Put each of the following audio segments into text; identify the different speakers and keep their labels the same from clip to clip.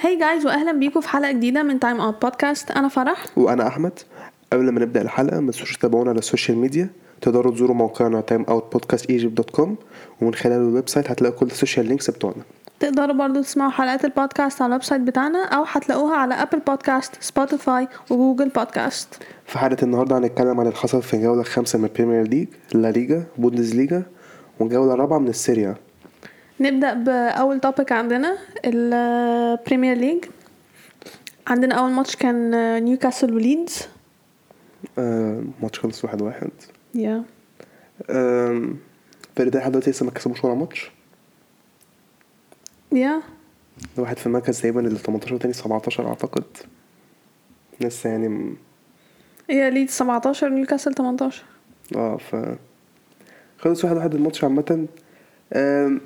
Speaker 1: هاي جايز واهلا بيكم في حلقه جديده من تايم اوت بودكاست انا فرح
Speaker 2: وانا احمد قبل ما نبدا الحلقه ما تنسوش تتابعونا على السوشيال ميديا تقدروا تزوروا موقعنا timeoutpodcastegypt.com ومن خلال الويب سايت هتلاقوا كل السوشيال لينكس بتوعنا
Speaker 1: تقدروا برضو تسمعوا حلقات البودكاست على الويب سايت بتاعنا او هتلاقوها على ابل بودكاست سبوتيفاي وجوجل بودكاست
Speaker 2: في حلقه النهارده هنتكلم عن اللي حصل في الجوله الخامسه من البريمير ليج لا ليجا بوندز ليجا والجوله الرابعه من السيريا
Speaker 1: نبدا باول توبيك عندنا البريمير ليج عندنا اول ماتش كان نيوكاسل وليدز
Speaker 2: آه، ماتش خلص واحد واحد
Speaker 1: يا
Speaker 2: آم، الفريق ده لحد دلوقتي لسه ما كسبوش ولا ماتش
Speaker 1: يا
Speaker 2: واحد في المركز تقريبا ال 18 والتاني 17 اعتقد لسه يعني م-
Speaker 1: هي ليدز 17 نيوكاسل 18
Speaker 2: اه ف خلص واحد واحد الماتش عامة آم،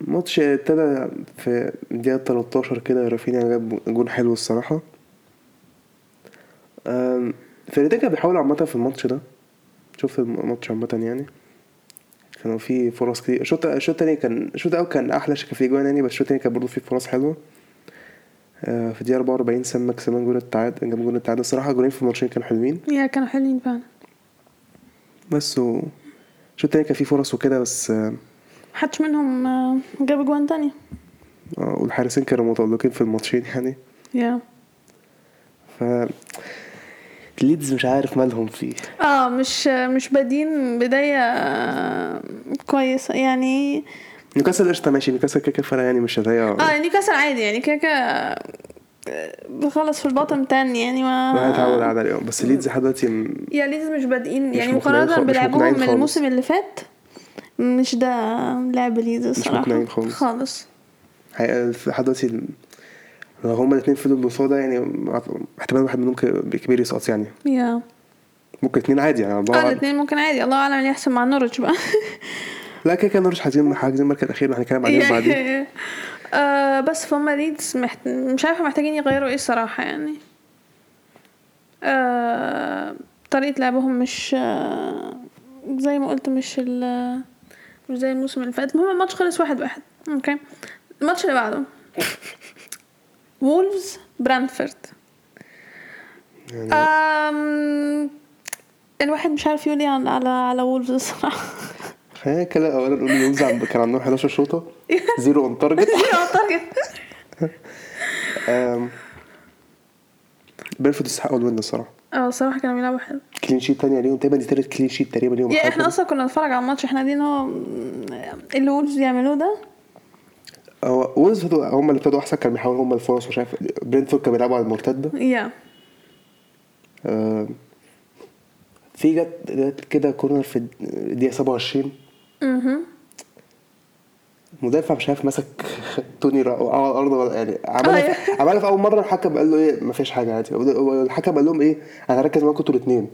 Speaker 2: ماتش ابتدى في الدقيقة 13 كده رافينيا جاب جون حلو الصراحة آم، فريدين كان بيحاول عامة في الماتش ده شوف الماتش عامة يعني كانوا في فرص كتير الشوط الشوط التاني كان الشوط الأول كان أحلى كان فيه جوان يعني بس الشوط التاني كان برضه فيه فرص حلوة آه، في الدقيقة 44 سام كسبان جون التعادل جاب جون التعادل الصراحة جولين في الماتشين كانوا حلوين
Speaker 1: يا كانوا حلوين فعلا
Speaker 2: بس و الشوط التاني كان فيه فرص وكده بس آه،
Speaker 1: محدش منهم آه، جاب جوان تانية
Speaker 2: آه، والحارسين كانوا متألقين في الماتشين يعني
Speaker 1: يا
Speaker 2: ف ليدز مش عارف مالهم فيه
Speaker 1: اه مش مش بادين بداية آه، كويسة يعني
Speaker 2: نيوكاسل قشطة ماشي نيوكاسل كده كده فرقة يعني مش هتضيع
Speaker 1: اه نيوكاسل عادي يعني كده كده آه، بخلص في البطن تاني يعني
Speaker 2: ما هيتعود
Speaker 1: ما
Speaker 2: على اليوم بس ليدز لحد دلوقتي م-
Speaker 1: يا ليز مش بادئين
Speaker 2: مش
Speaker 1: يعني
Speaker 2: مقنعين خ-
Speaker 1: مقارنة
Speaker 2: مش
Speaker 1: بلعبهم
Speaker 2: مقنعين
Speaker 1: من
Speaker 2: خالص.
Speaker 1: الموسم اللي فات مش ده لعب ليز الصراحة
Speaker 2: مقنعين خالص.
Speaker 1: خالص
Speaker 2: هي- لحد دلوقتي ال- لو هما الاتنين فضلوا البطولة ده يعني أعت- احتمال واحد منهم ك- كبير يسقط يعني
Speaker 1: يا
Speaker 2: ممكن اتنين عادي يعني الله
Speaker 1: اه
Speaker 2: أعلم.
Speaker 1: الاتنين ممكن عادي الله اعلم اللي يحصل مع نورتش بقى
Speaker 2: لا كده كده نورش حاجزين حاجزين المركز الأخير هنتكلم عليهم بعدين
Speaker 1: يعني آه، بس فهم ليدز محت... مش عارفه محتاجين يغيروا ايه الصراحه يعني آه، طريقه لعبهم مش آه، زي ما قلت مش ال... مش زي الموسم اللي فات المهم الماتش خلص واحد واحد اوكي الماتش اللي بعده وولفز برانفورد
Speaker 2: يعني
Speaker 1: آم، الواحد مش عارف يقول ايه عن- على على وولفز الصراحه
Speaker 2: خلينا نتكلم أولا نقول يومز عم- كان عندهم 11 شوطة زيرو أون تارجت بيرفورد يستحقوا الوين الصراحة
Speaker 1: اه الصراحه كانوا بيلعبوا حلو
Speaker 2: كلين شيت تانية ليهم تقريبا دي تالت كلين شيت تقريبا ليهم
Speaker 1: يعني
Speaker 2: حاجة
Speaker 1: احنا
Speaker 2: كده.
Speaker 1: اصلا كنا بنتفرج على الماتش احنا قاعدين هو اللي وولفز يعملوه ده
Speaker 2: هو وولز هدو- هم اللي ابتدوا احسن كانوا بيحاولوا هم الفرص مش عارف برينتفورد كانوا بيلعبوا على المرتده
Speaker 1: يا
Speaker 2: آه، في جت جت كده كورنر في الدقيقه 27
Speaker 1: اها
Speaker 2: المدافع مش عارف مسك توني را- وقع على الارض ولا- يعني
Speaker 1: آه،
Speaker 2: عملها
Speaker 1: يا.
Speaker 2: في- عملها في اول مره الحكم قال له ايه ما فيش حاجه عادي هو الحكم قال لهم ايه انا هركز معاكم انتوا الاثنين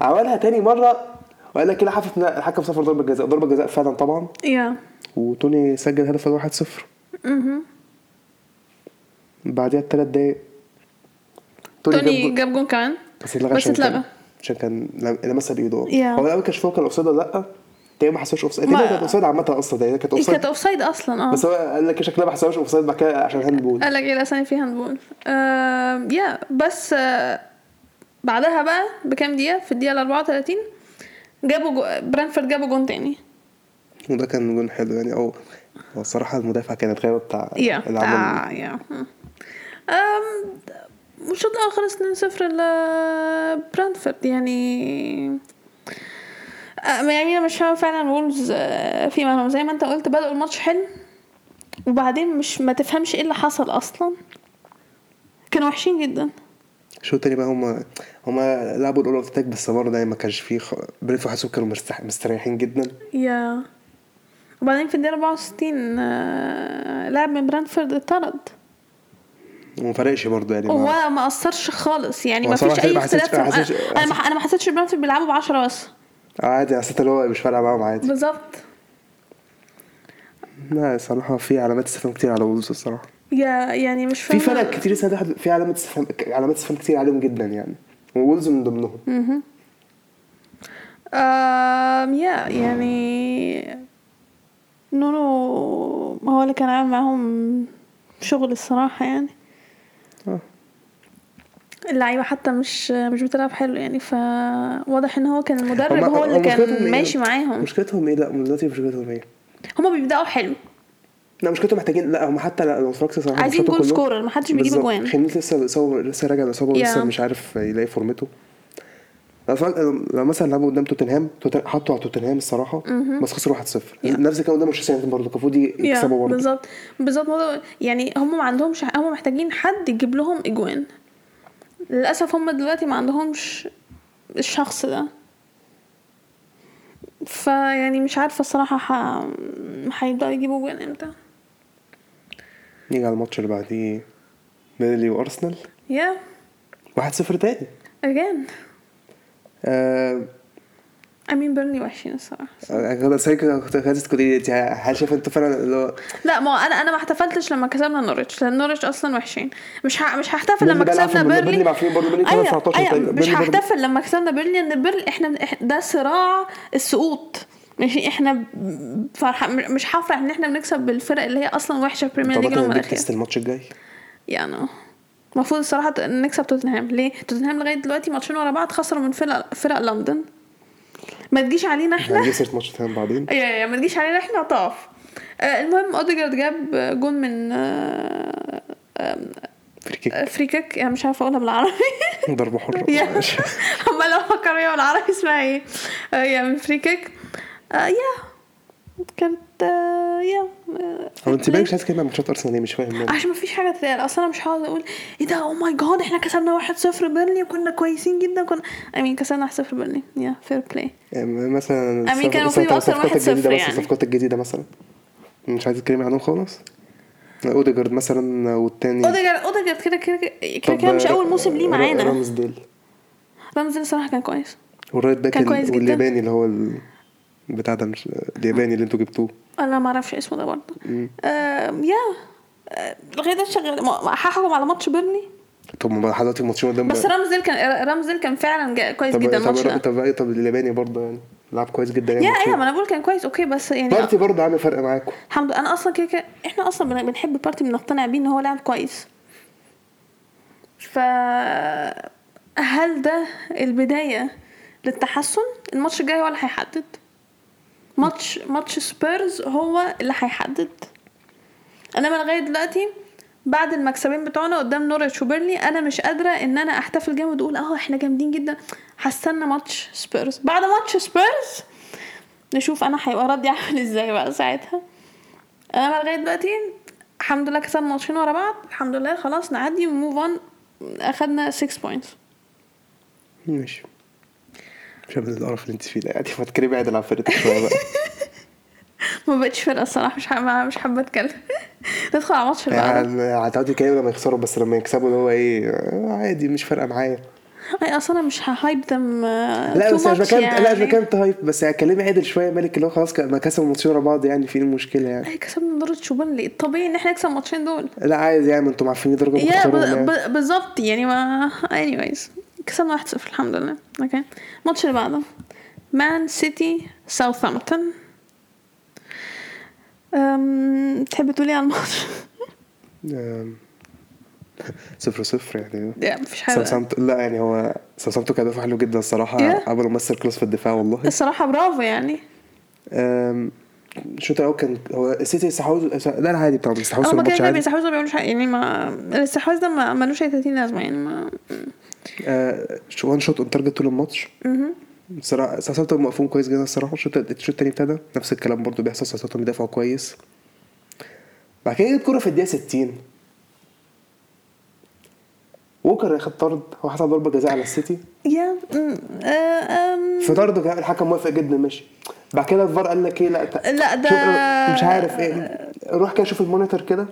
Speaker 2: عملها تاني مره وقال لك كده حفظ الحكم صفر ضربه جزاء ضربه جزاء فعلا طبعا
Speaker 1: يا
Speaker 2: وتوني سجل هدف الواحد صفر
Speaker 1: اها
Speaker 2: بعديها بثلاث دقايق
Speaker 1: توني
Speaker 2: جاب جو-
Speaker 1: جاب جون كمان
Speaker 2: بس اتلغى
Speaker 1: بس
Speaker 2: عشان كان-
Speaker 1: اتلغى.
Speaker 2: عشان كان لم- لمسها بايده هو
Speaker 1: Yeah.
Speaker 2: هو الاول كانش فاكر الاوفسايد ولا لا تقريبا ما حسبش اوفسايد تقريبا
Speaker 1: ما-
Speaker 2: كانت اوفسايد عامه اصلا يعني كانت
Speaker 1: إيه، كانت
Speaker 2: اوفسايد
Speaker 1: اوفسايد اصلا اه
Speaker 2: بس هو قال لك شكلها ما حسبهاش اوفسايد بعد كده عشان هاند بول
Speaker 1: قال لك ايه الاسامي فيها هنقول آه يا بس آه بعدها بقى بكام دقيقه في الدقيقه ال 34 جابوا جو... برانفورد جابوا جون تاني
Speaker 2: وده كان جون حلو يعني او هو الصراحه المدافع كانت غايبه بتاع
Speaker 1: يا
Speaker 2: اللي عمل
Speaker 1: آه يا أم، والشوط الأول خلص 2-0 لبرانفورد يعني آه، يعني أنا مش فاهمة فعلا وولفز آه، في مالهم زي ما انت قلت بدأوا الماتش حلو وبعدين مش ما تفهمش ايه اللي حصل اصلا كانوا وحشين جدا
Speaker 2: الشوط التاني بقى هم هم لعبوا الاول اوت اتاك بس برضه يعني ما كانش فيه خ... برينفورد حاسس كانوا مرتاح- مستريحين جدا
Speaker 1: يا وبعدين في الدقيقة 64 آه، لاعب من برانفورد اتطرد
Speaker 2: وما فرقش برضه يعني ما-
Speaker 1: وما ما اثرش خالص يعني
Speaker 2: هو
Speaker 1: ما
Speaker 2: صراحة
Speaker 1: فيش اي
Speaker 2: ما حسيتش-
Speaker 1: اختلاف
Speaker 2: ما
Speaker 1: انا
Speaker 2: حسيتش-
Speaker 1: أنا ما انا ما حسيتش برانفورد بيلعبوا ب 10 بس
Speaker 2: عادي حسيت اللي هو مش فارقه معاهم عادي
Speaker 1: بالظبط
Speaker 2: لا الصراحه في علامات استفهام كتير على وولز الصراحه
Speaker 1: يا يعني مش
Speaker 2: في
Speaker 1: فاهمة
Speaker 2: فرق كتير السنه دي حد- في علامات استفهام علامات استفهام كتير عليهم جدا يعني وولز من ضمنهم
Speaker 1: آم يا يعني نونو هو اللي كان عامل معاهم شغل الصراحة يعني
Speaker 2: اه
Speaker 1: اللعيبة حتى مش مش بتلعب حلو يعني فواضح ان هو كان المدرب
Speaker 2: هما-
Speaker 1: هو اللي
Speaker 2: مشكلتهم
Speaker 1: كان
Speaker 2: إيه؟
Speaker 1: ماشي معاهم
Speaker 2: مشكلتهم ايه لا دلوقتي مشكلتهم ايه
Speaker 1: هما بيبدأوا حلو
Speaker 2: لا مشكلتهم محتاجين لا هم حتى لا لو اتفرجت صراحه
Speaker 1: عايزين
Speaker 2: ماتشاتهم
Speaker 1: جول
Speaker 2: كلهم-
Speaker 1: سكورر محدش بيجيب
Speaker 2: بالظبط.
Speaker 1: اجوان
Speaker 2: خميس لسه لسه لسه راجع من اصابه ولسه
Speaker 1: Yeah.
Speaker 2: مش عارف يلاقي فورمته لو اتفرج- لو مثلا لعبوا قدام توتنهام توتن- حطوا على توتنهام الصراحه بس خسروا 1-0
Speaker 1: Yeah.
Speaker 2: نفس الكلام ده مانشستر يونايتد برضه المفروض
Speaker 1: يا،
Speaker 2: يكسبوا برضه
Speaker 1: بالظبط بالظبط هو- يعني هم ما عندهمش هم محتاجين حد يجيب لهم اجوان للاسف هم دلوقتي ما عندهمش الشخص ده فيعني مش عارفه الصراحه ح- هيبداوا يجيبوا جوان امتى
Speaker 2: نيجي على الماتش اللي بعديه بيرلي وارسنال
Speaker 1: يا
Speaker 2: 1-0 تاني
Speaker 1: اجان
Speaker 2: آه،
Speaker 1: امين بيرني وحشين الصراحه
Speaker 2: انا سايكو كنت عايز تقولي لي انت هل شايف انت فعلا اللي هو
Speaker 1: لا ما هو انا انا ما احتفلتش لما كسبنا نوريتش لان نوريتش اصلا وحشين مش ه... مش هحتفل
Speaker 2: بيرلي
Speaker 1: لما
Speaker 2: بيلعب في-
Speaker 1: كسبنا
Speaker 2: بيرلي
Speaker 1: بيرلي
Speaker 2: بيلعب فين برضه؟ بيرلي كسبنا
Speaker 1: أيوة،
Speaker 2: 19
Speaker 1: أيوة،
Speaker 2: تقريبا.
Speaker 1: مش
Speaker 2: بيرلي برضه-
Speaker 1: هحتفل لما كسبنا بيرلي ان بيرلي احنا إح- ده صراع السقوط ماشي احنا ب- فرح مش هفرح ان احنا بنكسب بالفرق اللي هي اصلا وحشه في البريمير ليج
Speaker 2: طبعا
Speaker 1: اليوم
Speaker 2: هديك
Speaker 1: الاخير
Speaker 2: تيست الماتش الجاي
Speaker 1: يعني المفروض الصراحه ت- نكسب توتنهام ليه توتنهام لغايه دلوقتي ماتشين ورا بعض خسروا من فرق فرق لندن ما تجيش علينا احنا
Speaker 2: هنجيب سيره يعني ماتش تاني بعدين
Speaker 1: يا يا ما تجيش علينا احنا طاف آه، المهم اوديجارد جاب جون من آه،
Speaker 2: فري كيك
Speaker 1: فري كيك يعني مش عارفه اقولها بالعربي
Speaker 2: ضربه حره
Speaker 1: يا.
Speaker 2: ماشي.
Speaker 1: عمال افكر بيها بالعربي اسمها ايه آه، يا من فري كيك آه، يا كانت آه، يا آه،
Speaker 2: هو انت
Speaker 1: ليه؟
Speaker 2: باين مش عايز كلمه ماتشات ارسنال ليه مش فاهم يعني.
Speaker 1: عشان مفيش حاجه تتقال اصلا انا مش هقعد اقول ايه ده او ماي جاد احنا كسبنا 1-0 بيرلي وكنا كويسين جدا كنا اي مين كسبنا 1-0 بيرلي يا فير بلاي
Speaker 2: يعني
Speaker 1: أمين
Speaker 2: مثلا الصف-
Speaker 1: كان المفروض يبقى أصلا
Speaker 2: الصفقات
Speaker 1: 1-0
Speaker 2: الجديدة مثلا
Speaker 1: يعني.
Speaker 2: الصفقات الجديده مثلا مش عايز اتكلم عنهم خالص اوديجارد مثلا والتاني
Speaker 1: اوديجارد اوديجارد كده كده كده
Speaker 2: طب آه،
Speaker 1: كده مش اول
Speaker 2: ر-
Speaker 1: موسم ليه
Speaker 2: ر-
Speaker 1: معانا
Speaker 2: رامز ديل
Speaker 1: رمزي الصراحه كان كويس
Speaker 2: والرايت باك
Speaker 1: كان
Speaker 2: ال-
Speaker 1: كويس جدا.
Speaker 2: والياباني اللي هو ال- بتاع ده مش الياباني اللي انتوا جبتوه
Speaker 1: انا ما اعرفش اسمه ده برضه آم، يا آه، لغايه ده شغال ما- ما- هحكم على ماتش بيرلي
Speaker 2: طب ما حضرتك الماتشين قدام
Speaker 1: بس رمزيل كان رمزيل كان فعلا جا- كويس
Speaker 2: طب
Speaker 1: جدا
Speaker 2: طب
Speaker 1: الماتش ده
Speaker 2: طب طب الياباني برضه يعني لعب كويس جدا يعني
Speaker 1: يا ايوه
Speaker 2: الماتشين.
Speaker 1: ما انا بقول كان كويس اوكي بس يعني
Speaker 2: بارتي برضه عامل فرق معاكم
Speaker 1: الحمد لله انا اصلا كده كده احنا اصلا بن- بنحب بارتي بنقتنع بيه ان هو لاعب كويس ف هل ده البدايه للتحسن الماتش الجاي هو اللي هيحدد ماتش ماتش سبيرز هو اللي هيحدد انما لغايه دلوقتي بعد المكسبين بتوعنا قدام نوريتش وبيرلي انا مش قادره ان انا احتفل جامد واقول اه احنا جامدين جدا هستنى ماتش سبيرز بعد ماتش سبيرز نشوف انا هيبقى ردي عامل ازاي بقى ساعتها انا لغايه آه، دلوقتي الحمد لله كسبنا ماتشين ورا بعض الحمد لله خلاص نعدي وموف اون اخدنا 6 بوينتس
Speaker 2: ماشي مش من القرف اللي انت فيه ده يعني ما تكرمي عادل على فرقتك شويه بقى
Speaker 1: ما بقتش فرقه الصراحه مش حابة- مش حابه اتكلم ندخل على الماتش اللي بعده
Speaker 2: يعني هتقعدي تتكلمي لما يخسروا بس لما يكسبوا اللي هو ايه آه، عادي مش فارقه معايا
Speaker 1: اي اصلا مش آه، ههايب ذم
Speaker 2: لا بس مش بكام لا
Speaker 1: يعني.
Speaker 2: مش بكام هايب بس يعني هتكلمي عادل شويه مالك اللي هو خلاص ك- ما كسبوا الماتشين ورا بعض يعني في ايه المشكله يعني
Speaker 1: اي إيه، كسبنا نورتش وبنلي الطبيعي ان احنا نكسب الماتشين دول
Speaker 2: لا عايز يعني انتم عارفين درجه
Speaker 1: يا
Speaker 2: مختارهم
Speaker 1: ب-
Speaker 2: يعني.
Speaker 1: ب- بالظبط يعني ما anyways كسبنا 1-0 الحمد لله اوكي الماتش اللي بعده مان سيتي ساوثهامبتون أم، تحب تقولي على الماتش؟
Speaker 2: آم، صفر صفر يعني
Speaker 1: لا مفيش حاجة
Speaker 2: سامسونت لا يعني هو سامسونت كان دفاع حلو جدا الصراحه
Speaker 1: Yeah.
Speaker 2: عملوا ماستر كلاس في الدفاع والله
Speaker 1: الصراحة برافو يعني
Speaker 2: أم، الشوط الاول كان هو السيتي استحوذوا لا لا عادي بتاعهم استحوذوا
Speaker 1: هما كده
Speaker 2: الماتش
Speaker 1: كده
Speaker 2: عادي
Speaker 1: بيستحوذوا ما بيعملوش حاجة يعني ما الاستحواذ ده ما ملوش أي 30 لازمة يعني ما
Speaker 2: آه، شو- وان شوت اون تارجت طول الماتش بصراحه ساوثهامبتون موقفهم كويس جدا الصراحه الشوط الشوط الثاني ابتدى نفس الكلام برضو بيحصل ساوثهامبتون بيدافعوا كويس بعد كده جت كوره في الدقيقه 60 ووكر اخد طرد هو حسب ضربه جزاء على السيتي
Speaker 1: يا أم، آه، أم،
Speaker 2: في طرد كان الحكم موافق جدا ماشي بعد كده الفار قال لك ايه لا تا-
Speaker 1: لا، ده-
Speaker 2: شوف- مش عارف ايه روح كده شوف المونيتور كده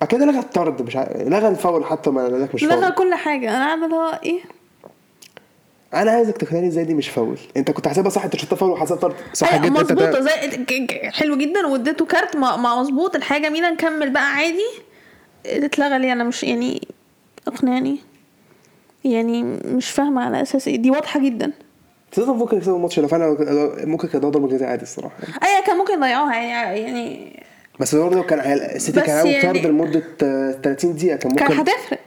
Speaker 2: بعد كده لغى الطرد مش عارف لغى الفاول حتى ما قال لك مش
Speaker 1: لغى
Speaker 2: فاول
Speaker 1: كل حاجة أنا قاعدة اللي هو إيه
Speaker 2: انا عايزك تقنعني ازاي دي مش فاول انت كنت حاسبها صح انت شطها فاول وحاسبها طرد صح
Speaker 1: أيوة،
Speaker 2: جدا انت
Speaker 1: مظبوطة
Speaker 2: ده-
Speaker 1: زي ك- ك- حلو جدا واديته كارت ما ما مظبوط الحياة جميلة نكمل بقى عادي اتلغى ليه أنا مش يعني اقنعني يعني مش فاهمة على أساس إيه دي واضحة جدا
Speaker 2: تقدر ممكن يكسبوا الماتش لو فعلا لو- ممكن كان ده ضربه جزاء عادي الصراحه
Speaker 1: ايوه كان ممكن يضيعوها يعني يعني
Speaker 2: بس برضه كان عيال- السيتي
Speaker 1: بس
Speaker 2: كان عامل
Speaker 1: يعني-
Speaker 2: طرد لمده آه، 30 دقيقه كان
Speaker 1: كان
Speaker 2: ممكن
Speaker 1: هتفرق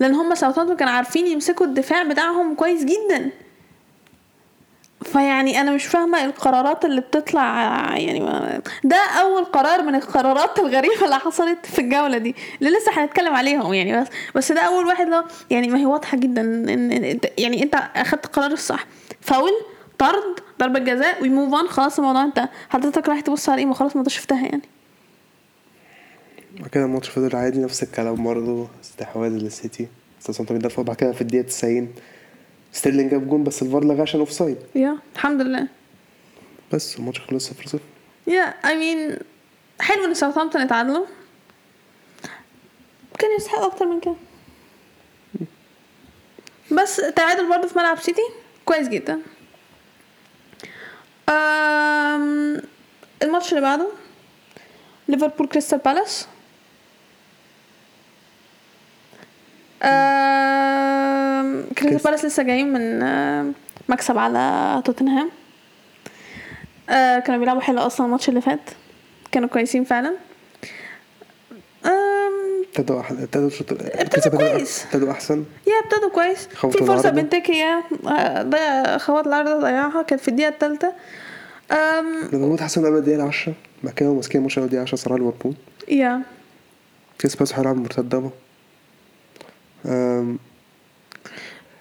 Speaker 1: لان هم ساوثهامبتون كانوا عارفين يمسكوا الدفاع بتاعهم كويس جدا فيعني انا مش فاهمه القرارات اللي بتطلع يعني ما ده اول قرار من القرارات الغريبه اللي حصلت في الجوله دي اللي لسه هنتكلم عليهم يعني بس بس ده اول واحد لو يعني ما هي واضحه جدا ان إن- يعني انت اخدت القرار الصح فاول طرد ضربه جزاء وموف اون خلاص الموضوع انت حضرتك رايح تبص على ايه ما خلاص ما انت شفتها يعني
Speaker 2: بعد كده الماتش فضل عادي نفس الكلام برضه استحواذ للسيتي ساوثهامبتون دفعوا بعد كده في الدقيقه 90 ستيرلينج جاب جون بس الفار لغى عشان اوف سايد
Speaker 1: يا الحمد لله
Speaker 2: بس الماتش خلص 0 0
Speaker 1: يا اي مين حلو ان ساوثهامبتون اتعادلوا كان يستحق اكتر من كده بس تعادل برضه في ملعب سيتي كويس جدا أم، الماتش اللي بعده ليفربول كريستال بالاس أم، كريستال
Speaker 2: كريست-
Speaker 1: بالاس لسه جايين من أم، مكسب على توتنهام آه كانوا بيلعبوا حلو اصلا الماتش اللي فات كانوا كويسين فعلا آم،
Speaker 2: ابتدوا أحل- ابتدوا الشوط
Speaker 1: ابتدوا كويس.
Speaker 2: ابتدوا احسن
Speaker 1: يا ابتدوا كويس
Speaker 2: خبطوا
Speaker 1: في فرصه
Speaker 2: العارضة.
Speaker 1: بنتكي يا آه، ضيع خبط العارضه ضيعها كانت في الدقيقه الثالثه
Speaker 2: ليفربول حسن قبل الدقيقه 10 بعد كده ماسكين الماتش قبل الدقيقه 10 صراحه ليفربول
Speaker 1: يا
Speaker 2: كريس باس هيلعب مرتدة أم،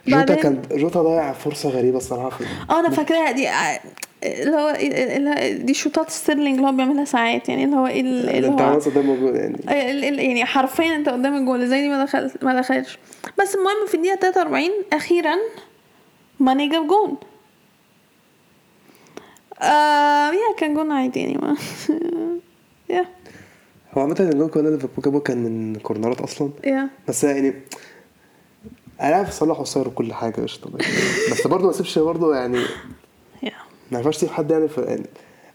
Speaker 2: جوتا
Speaker 1: بعدين-
Speaker 2: كان جوتا ضيع فرصة غريبة الصراحة في-
Speaker 1: اه انا فاكراها دي آه، اللي هو اللي هو- دي شوطات ستيرلينج اللي هو بيعملها ساعات يعني اللي هو ايه اللي اللي
Speaker 2: انت
Speaker 1: هو
Speaker 2: عملت ده موجود يعني
Speaker 1: ال- ال- يعني حرفيا انت قدام الجول زي دي ما دخلت ما دخلش بس المهم في الدقيقه 43 اخيرا ماني جاب جون آه يا كان جون عادي يعني ما يا
Speaker 2: هو عامة الجول كله ليفربول جابه كان من كورنرات أصلا
Speaker 1: يا
Speaker 2: بس يعني أنا عارف صلاح وصاير وكل حاجة قشطة بس برضه ما سيبش برضه يعني
Speaker 1: يا
Speaker 2: ما ينفعش تسيب حد يعني, في يعني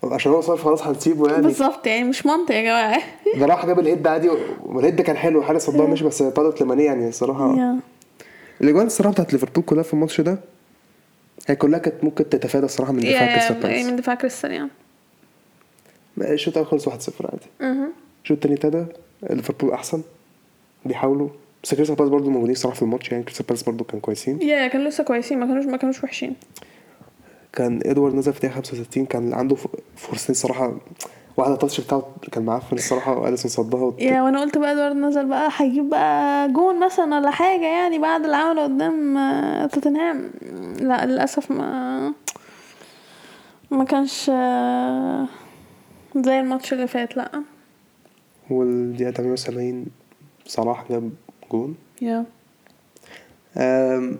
Speaker 2: عشان هو صار خلاص هنسيبه يعني
Speaker 1: بالظبط يعني مش منطق يا جماعه
Speaker 2: ده راح جاب الهيد عادي والهيد كان حلو حارس صدها ماشي بس طالت لمانيه يعني الصراحة
Speaker 1: يا
Speaker 2: الاجوان الصراحه بتاعت ليفربول كلها في الماتش ده هي كلها كانت ممكن تتفادى الصراحه من
Speaker 1: يا-
Speaker 2: دفاع كريستال
Speaker 1: يا
Speaker 2: بالاس
Speaker 1: من دفاع كريستال يا
Speaker 2: الشوط الاول خلص 1-0 عادي
Speaker 1: مهم.
Speaker 2: الشوط التاني ابتدى ليفربول احسن بيحاولوا بس كريستال بالاس برضه موجودين الصراحه في الماتش يعني كريستال بالاس برضه كانوا كويسين
Speaker 1: يا يا كانوا لسه كويسين ما كانوش ما كانوش وحشين
Speaker 2: كان ادوارد نزل في دقيقه 65 كان عنده ف- فرصتين الصراحه واحده تاتش بتاعه كان معفن الصراحه واليسون صدها وت...
Speaker 1: يا وانا قلت بقى ادوارد نزل بقى هيجيب بقى جون مثلا ولا حاجه يعني بعد اللي عمله قدام آه، توتنهام لا للاسف ما ما كانش آه، زي الماتش اللي فات لا
Speaker 2: والدقيقه 78 صلاح جاب جون
Speaker 1: يا
Speaker 2: آم،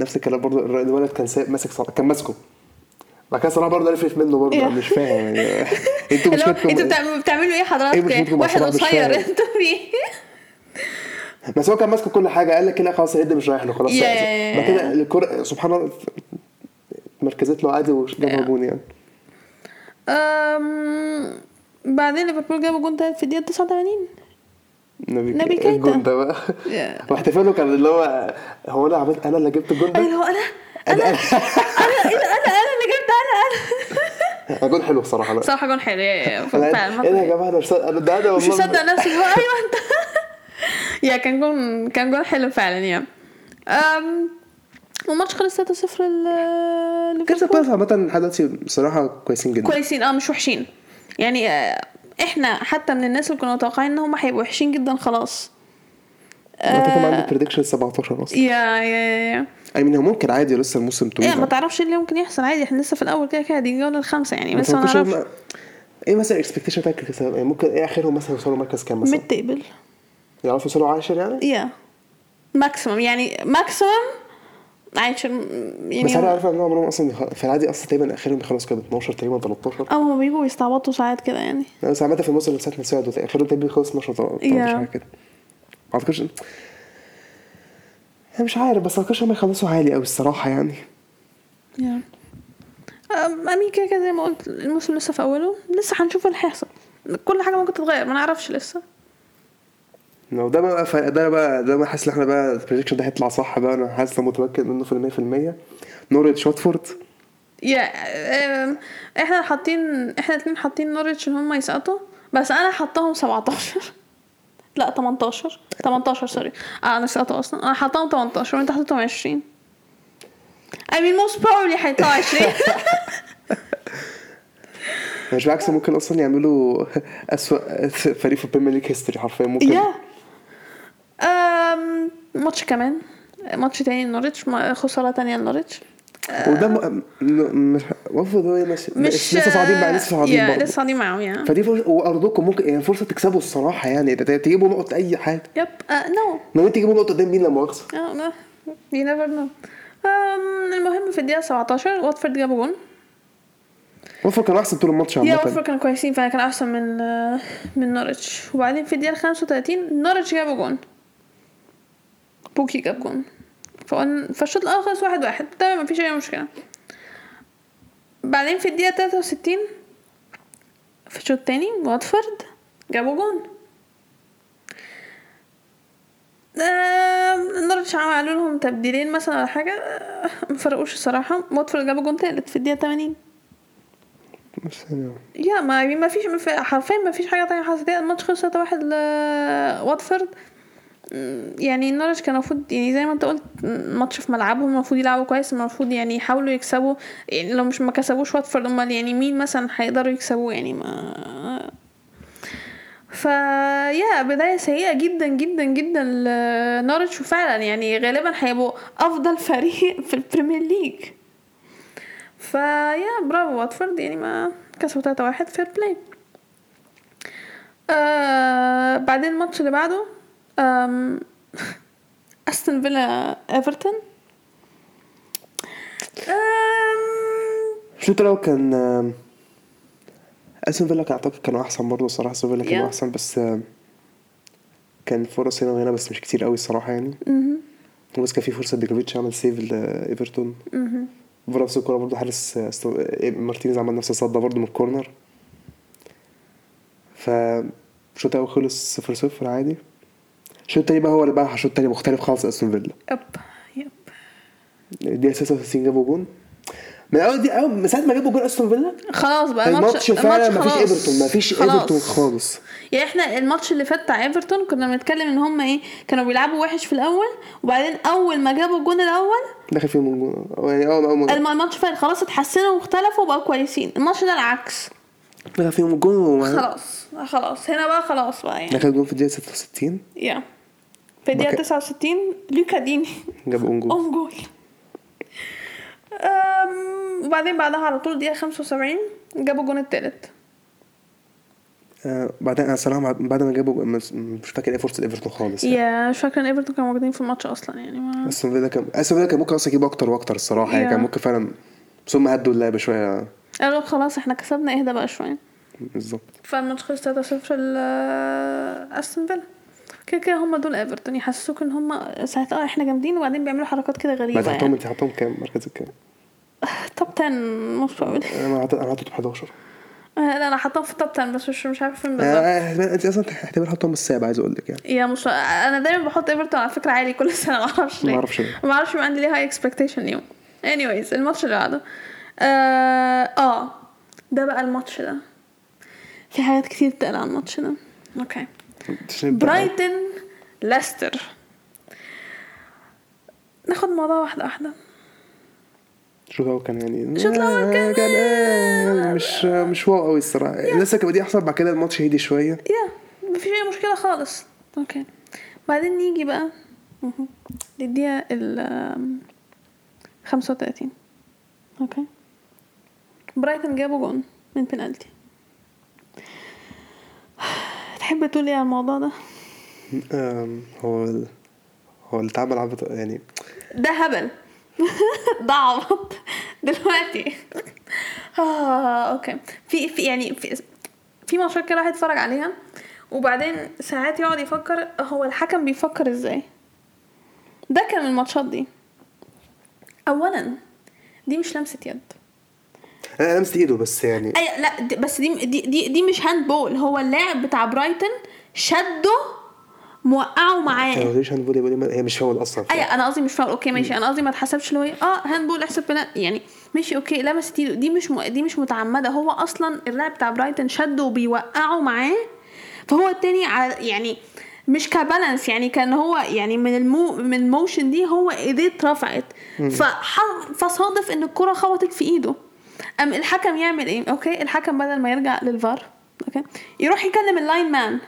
Speaker 2: نفس الكلام برضه الر- الولد كان سايق ماسك صلاح كان ماسكه بعد كده صلاح برضه قفش منه برضه
Speaker 1: إيه.
Speaker 2: أنا مش فاهم يعني انتوا
Speaker 1: اللي هو انتوا
Speaker 2: مشكلتكم
Speaker 1: بتعملوا- بتعملوا ايه
Speaker 2: إيه مشكلتكم
Speaker 1: حضرتك
Speaker 2: مع
Speaker 1: واحد
Speaker 2: صلاح؟ مش
Speaker 1: قصير
Speaker 2: فاهم.
Speaker 1: انتوا في ايه
Speaker 2: بس هو كان ماسك كل حاجه قال لك لا خلاص الهيد مش رايح له خلاص
Speaker 1: ياه.
Speaker 2: بعد كده الكره سبحان الله مركزت له عادي وجابها
Speaker 1: ياه.
Speaker 2: جون يعني
Speaker 1: أم، بعدين ليفربول جابوا جون تالت في الدقيقه 89
Speaker 2: نبي
Speaker 1: نبي كيتا.
Speaker 2: الجون ده بقى
Speaker 1: ياه.
Speaker 2: واحتفاله كان اللي هو هو انا عملت انا اللي جبت الجون ده
Speaker 1: اللي هو انا انا انا انا انا انا اللي جبت انا
Speaker 2: أنا جون حلو بصراحه لا
Speaker 1: انا صراحه جون حلو إيه، يا- يا-
Speaker 2: أنا-
Speaker 1: فعلا
Speaker 2: ايه ده يا جماعه انا مش صادق- أنا- ده انا
Speaker 1: مش
Speaker 2: والله
Speaker 1: مصدق نفسي هو ايوه انت يا كان جون كان جون حلو فعلا يا أم، والماتش خلص 3-0 ل-
Speaker 2: كريستال
Speaker 1: ليفربول
Speaker 2: بالاس عامه لحد دلوقتي بصراحه كويسين جدا
Speaker 1: كويسين اه مش وحشين يعني آه، احنا حتى من الناس اللي كنا متوقعين ان هم هيبقوا وحشين جدا خلاص
Speaker 2: انا كان
Speaker 1: آه.
Speaker 2: عندي بريدكشن 17 اصلا
Speaker 1: يا يا يا
Speaker 2: اي مين هو ممكن عادي لسه الموسم طويل
Speaker 1: يا إيه. ما تعرفش ايه اللي ممكن يحصل عادي احنا لسه في الاول كده كده دي الجوله الخامسه يعني بس ما
Speaker 2: تفكرش
Speaker 1: نعرفش
Speaker 2: هم- ايه مثلا الاكسبكتيشن بتاعك لكريستيانو؟ يعني ممكن ايه اخرهم مثلا يوصلوا مركز كام مثلا؟
Speaker 1: ميد تيبل
Speaker 2: يعرفوا يوصلوا 10 يعني؟
Speaker 1: يا ماكسيمم يعني ماكسيمم عايش يعني
Speaker 2: بس انا عارف ان عمرهم اصلا يخ- في العادي اصلا تقريبا اخرهم يخلص كده 12 تقريبا 13
Speaker 1: او هما بيجوا يستعبطوا ساعات كده يعني
Speaker 2: لا، بس عامه في الموسم اللي فات يعني نساعد اخرهم تقريبا يخلص 12 13
Speaker 1: Yeah.
Speaker 2: حاجه كده ما اعتقدش أنا مش عارف بس ما اعتقدش هم يخلصوا عالي قوي الصراحه يعني
Speaker 1: يا امين كده كده زي ما قلت الموسم لسه في اوله لسه هنشوف اللي هيحصل كل حاجه ممكن تتغير ما نعرفش لسه
Speaker 2: لو ده بقى ف... ده بقى ده بقى حاسس ان احنا بقى البريدكشن ده هيطلع صح بقى انا حاسس أنا متمكن منه في المية في المية نوريتش واتفورد
Speaker 1: يا أم، احنا حاطين احنا الاتنين حاطين نوريتش ان هم يسقطوا بس انا حطاهم 17 لا 18 18 سوري آه انا سقطت اصلا انا حطاهم 18 وانت حطيتهم 20 I mean most probably حطيتهم 20
Speaker 2: مش بالعكس ممكن اصلا يعملوا اسوء فريق في البريمير ليج هيستوري حرفيا ممكن
Speaker 1: يا أم، ماتش كمان ماتش تاني لنوريتش ما- خسارة تانية لنوريتش
Speaker 2: وده م... م... مش المفروض هو مش...
Speaker 1: مش
Speaker 2: لسه صاعدين بقى لسه صاعدين
Speaker 1: يا
Speaker 2: برضه
Speaker 1: لسه صاعدين معاهم يا
Speaker 2: فدي فرصه وارضكم ممكن يعني فرصه تكسبوا الصراحه يعني ت- تجيبوا نقط اي حاجه
Speaker 1: يب نو
Speaker 2: لو انت تجيبوا نقط قدام مين لا مؤاخذه
Speaker 1: نو يو نيفر نو المهم في الدقيقة 17 واتفورد جابوا جون
Speaker 2: وفر كان احسن طول الماتش
Speaker 1: يا واتفورد
Speaker 2: عامه
Speaker 1: كانوا كويسين فعلا كان احسن من آه، من نوريتش وبعدين في الدقيقة 35 نوريتش جابوا جون بوكي جاب جون فقلنا فالشوط الاول خلص واحد واحد تمام مفيش اي مشكلة بعدين في الدقيقة 63 في الشوط التاني واتفورد جابوا جون آه، نوريتش عملوا لهم تبديلين مثلا ولا حاجة آه، مفرقوش الصراحة واتفورد جابوا جون تالت في الدقيقة 80
Speaker 2: مش ثانية.
Speaker 1: يا ما يعني ما فيش ما في- حرفيا ما فيش حاجه تانية حصلت هي الماتش خلص 3 واحد لواتفورد م، يعني نوريتش كان المفروض يعني زي ما انت قلت م، ماتش في ملعبهم المفروض يلعبوا كويس المفروض يعني يحاولوا يكسبوا يعني لو مش ما كسبوش واتفورد امال يعني مين مثلا هيقدروا يكسبوا يعني ما فا يا بداية سيئة جدا جدا جدا لنورتش وفعلا يعني غالبا هيبقوا أفضل فريق في البريمير ليج فيا برافو واتفورد يعني ما كسبوا 3 واحد فير بلاي آه بعدين الماتش اللي بعده آم، استون فيلا ايفرتون آم،
Speaker 2: الشوط الاول كان آم، استون فيلا كان اعتقد كانوا احسن برضه الصراحه استون فيلا كانوا
Speaker 1: Yeah.
Speaker 2: احسن بس آم، كان فرص هنا وهنا بس مش كتير قوي الصراحه يعني
Speaker 1: مهم.
Speaker 2: بس كان في فرصه ديجريفيتش عمل سيف لايفرتون
Speaker 1: مهم.
Speaker 2: في نفس الكوره برضه حارس آه، استو- آه، مارتينيز عمل نفس الصده برضه من الكورنر ف الشوط الاول خلص 0 0 عادي الشوط التاني بقى هو اللي بقى الشوط التاني مختلف خالص استون فيلا
Speaker 1: يب يب
Speaker 2: الدقيقة 66 جابوا جون من اول دي اول من ساعة ما جابوا جون استون فيلا
Speaker 1: خلاص بقى
Speaker 2: الماتش فعلا
Speaker 1: الماتش
Speaker 2: مفيش
Speaker 1: خلاص.
Speaker 2: ايفرتون مفيش
Speaker 1: خلاص.
Speaker 2: ايفرتون خالص
Speaker 1: يعني احنا الماتش اللي فات بتاع ايفرتون كنا بنتكلم ان هم ايه كانوا بيلعبوا وحش في الاول وبعدين اول ما جابوا الجون الاول
Speaker 2: دخل فيهم الجون أو يعني اول اول ما
Speaker 1: الم- الماتش فات خلاص اتحسنوا واختلفوا وبقوا كويسين الماتش ده العكس
Speaker 2: دخل فيهم الجون وما-
Speaker 1: خلاص خلاص هنا بقى خلاص بقى يعني
Speaker 2: دخل جون في الدقيقة 66
Speaker 1: يا في الدقيقة
Speaker 2: بك-
Speaker 1: 69 لوكا ديني
Speaker 2: جابوا اون جون
Speaker 1: اون جول أم، وبعدين بعدها على طول دقيقة 75 جابوا الجون التالت
Speaker 2: آه بعدين انا صراحة بعد ما جابوا جون- مش- مش فاكر ايه فرصة ايفرتون خالص يعني.
Speaker 1: يا مش فاكرة ان ايفرتون كانوا موجودين في الماتش اصلا يعني ما
Speaker 2: استون فيلا كان استون فيلا كان ممكن اصلا يجيبوا اكتر واكتر الصراحة يعني
Speaker 1: Yeah.
Speaker 2: كان ممكن فعلا بس هم هدوا اللعبة شوية
Speaker 1: قالوا خلاص احنا كسبنا اهدى بقى شوية
Speaker 2: بالظبط
Speaker 1: فالماتش خلص 3-0 ل استون فيلا كده كده هما دول ايفرتون يحسسوك ان هما ساعتها اه احنا جامدين وبعدين بيعملوا حركات كده
Speaker 2: ما
Speaker 1: غريبة
Speaker 2: تحطهم
Speaker 1: يعني
Speaker 2: انت حطهم كام مركزك كام؟
Speaker 1: توب 10 موست بروبلي
Speaker 2: انا حاطط انا حاطط 11
Speaker 1: لا انا حاطاهم في التوب 10 بس مش مش عارفه فين بالظبط
Speaker 2: آه، انت اصلا احتمال حطهم السابع عايز اقول لك يعني
Speaker 1: يا مش انا دايما بحط ايفرتون على فكره عالي كل سنه ما اعرفش ليه
Speaker 2: ما أعرفش ليه.
Speaker 1: ما اعرفش بيبقى عندي ليه هاي اكسبكتيشن اليوم anyways الماتش اللي بعده آه, اه ده بقى الماتش ده في حاجات كتير تقلق على الماتش ده اوكي برايتن ليستر ناخد موضوع واحده واحده
Speaker 2: شو هو كان يعني
Speaker 1: الشوط الأول كان-
Speaker 2: كان آه، مش مش واو قوي الصراحه لسه كان بدي احصل بعد كده الماتش هيدي شويه
Speaker 1: يا مفيش اي مشكله خالص اوكي بعدين نيجي بقى مهم. للدقيقه ال 35 اوكي برايتن جابوا جون من بنالتي تحب تقول ايه على الموضوع ده
Speaker 2: آم، هو ال- هو اللي اتعمل عبط يعني
Speaker 1: ده هبل ده عبط دلوقتي آه، اوكي في في يعني في في ماتشات كده الواحد يتفرج عليها وبعدين ساعات يقعد يفكر هو الحكم بيفكر ازاي ده كان من الماتشات دي اولا دي مش لمسه يد
Speaker 2: انا آه، لمست ايده بس يعني
Speaker 1: اي لا دي بس دي دي دي, دي مش هاند بول هو اللاعب بتاع برايتون شده موقعه معاه
Speaker 2: هو ليش هاندبول يبقى ليه- هي مش فاول اصلا
Speaker 1: اي انا قصدي مش فاول اوكي ماشي انا قصدي ما تحسبش اللي هو إيه، اه هاند بول آه، احسب بنالتي يعني ماشي اوكي لمست ايده دي مش م... دي مش متعمده هو اصلا اللاعب بتاع برايتن شده وبيوقعه معاه فهو التاني على يعني مش كبالانس يعني كان هو يعني من المو من الموشن دي هو ايديه اترفعت فح... فصادف ان الكره خبطت في ايده ام الحكم يعمل ايه اوكي الحكم بدل ما يرجع للفار اوكي يروح يكلم اللاين مان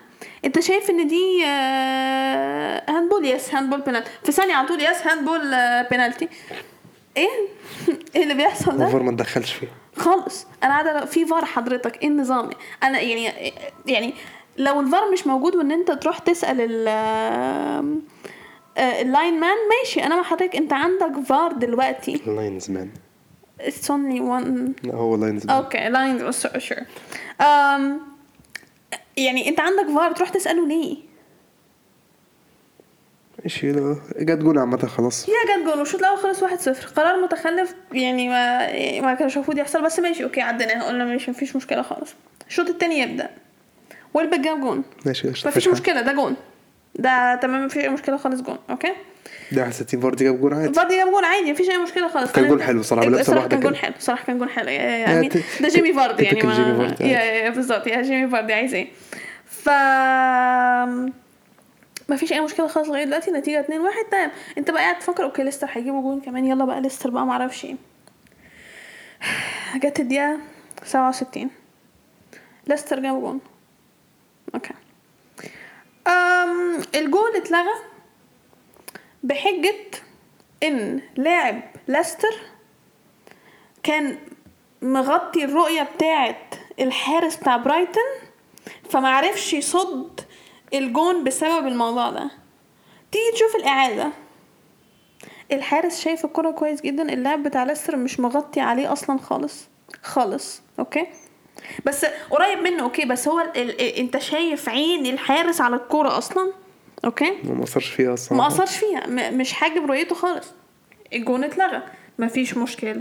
Speaker 1: انت شايف ان دي آه، هاندبول يس هاندبول بينالتي في ثانيه على طول يس هاندبول آه، بينالتي ايه ايه اللي بيحصل ده
Speaker 2: المفروض ما تدخلش فيه
Speaker 1: خالص انا قاعده في فار حضرتك ايه النظام انا يعني يعني لو الفار مش موجود وان انت تروح تسال ال آه، اللاين مان ماشي انا مع حضرتك انت عندك فار دلوقتي
Speaker 2: لاينز مان
Speaker 1: it's only one
Speaker 2: لا هو لاينز مان
Speaker 1: اوكي لاينز شور أم Um, يعني انت عندك فار تروح تساله ليه
Speaker 2: ماشي لا، جت جون عامة خلاص
Speaker 1: هي جت جون والشوط الاول خلص 1-0 قرار متخلف يعني ما ما كانش المفروض يحصل بس ماشي اوكي عديناه قلنا ماشي مفيش مشكله خالص الشوط التاني يبدا ويلبك جاب جون
Speaker 2: ماشي قشطة،
Speaker 1: مفيش
Speaker 2: حاجة.
Speaker 1: مشكله ده جون ده تمام مفيش اي مشكله خالص جون اوكي
Speaker 2: ده على 60 فاردي جاب جون عادي
Speaker 1: فاردي جاب جون عادي مفيش اي مشكله خالص
Speaker 2: كان جون حلو صراحة، بلبسة
Speaker 1: صراحه
Speaker 2: واحدة
Speaker 1: كان
Speaker 2: كده. آه،
Speaker 1: جون حلو صراحه كان جون حلو يعني
Speaker 2: ت-
Speaker 1: ده جيمي فاردي يعني
Speaker 2: typical جيمي
Speaker 1: ما
Speaker 2: فاردي،
Speaker 1: يا
Speaker 2: عادي.
Speaker 1: يا يا بالظبط يا جيمي فاردي عايز ايه ف ما فيش اي مشكله خالص لغايه دلوقتي النتيجه 2 1 تمام انت بقى قاعد تفكر اوكي ليستر هيجيبوا جون كمان يلا بقى ليستر بقى ما اعرفش ايه جت الدقيقه 67 ليستر جاب جون اوكي أم الجول اتلغى بحجة ان لاعب ليستر كان مغطي الرؤية بتاعة الحارس بتاع برايتن فمعرفش يصد الجون بسبب الموضوع ده تيجي تشوف الإعادة الحارس شايف الكرة كويس جدا اللاعب بتاع ليستر مش مغطي عليه أصلا خالص خالص أوكي بس قريب منه أوكي بس هو ال... ال... أنت شايف عين الحارس على الكرة أصلا أوكي
Speaker 2: ما أثرش فيها أصلا
Speaker 1: ما اثرش فيها م- مش حاجب رؤيته خالص الجون اتلغى مفيش مشكله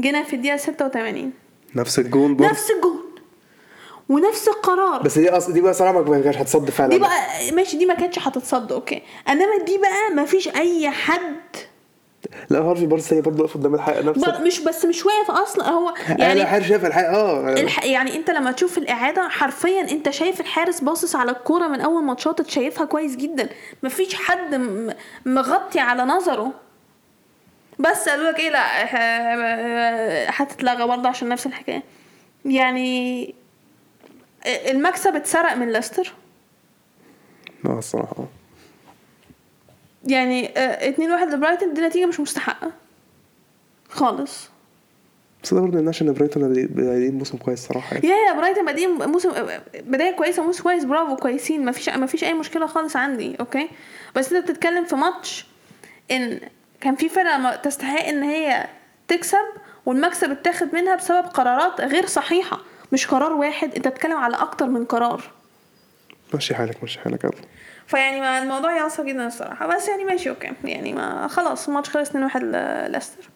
Speaker 1: جينا في الدقيقه 86
Speaker 2: نفس الجون برضه
Speaker 1: نفس الجون ونفس القرار
Speaker 2: بس دي أصلا دي بقى صراحة ما كانش هتصد فعلا
Speaker 1: دي بقى ماشي دي ما كانتش هتتصد اوكي انما دي بقى مفيش اي حد
Speaker 2: لا هارفي بارنز تاني برضه وقف قدام الحلقة نفس
Speaker 1: بر- مش بس مش واقف اصلا هو
Speaker 2: يعني انا
Speaker 1: يعني
Speaker 2: حارس شايف الحقيقه اه
Speaker 1: الح... يعني انت لما تشوف الاعاده حرفيا انت شايف الحارس باصص على الكوره من اول ما شاطت شايفها كويس جدا مفيش حد م... مغطي على نظره بس قالوا لك ايه لا ه- هتتلغى برضه عشان نفس الحكايه يعني المكسب اتسرق من ليستر
Speaker 2: لا الصراحه اه
Speaker 1: يعني 2 1 لبرايتن دي نتيجه مش مستحقه خالص
Speaker 2: بس ده برضه الناشن برايتون بادئين موسم كويس صراحه يعني
Speaker 1: يا يا برايتن بادئين موسم بدايه كويسه موسم كويس برافو كويسين ما فيش ما فيش اي مشكله خالص عندي اوكي بس انت بتتكلم في ماتش ان كان في فرقه ما تستحق ان هي تكسب والمكسب اتاخد منها بسبب قرارات غير صحيحه مش قرار واحد انت بتتكلم على اكتر من قرار
Speaker 2: ماشي حالك ماشي حالك يلا
Speaker 1: فيعني ما الموضوع يعصب جدا الصراحه بس يعني ماشي اوكي يعني ما خلاص الماتش خلص 2 1 ليستر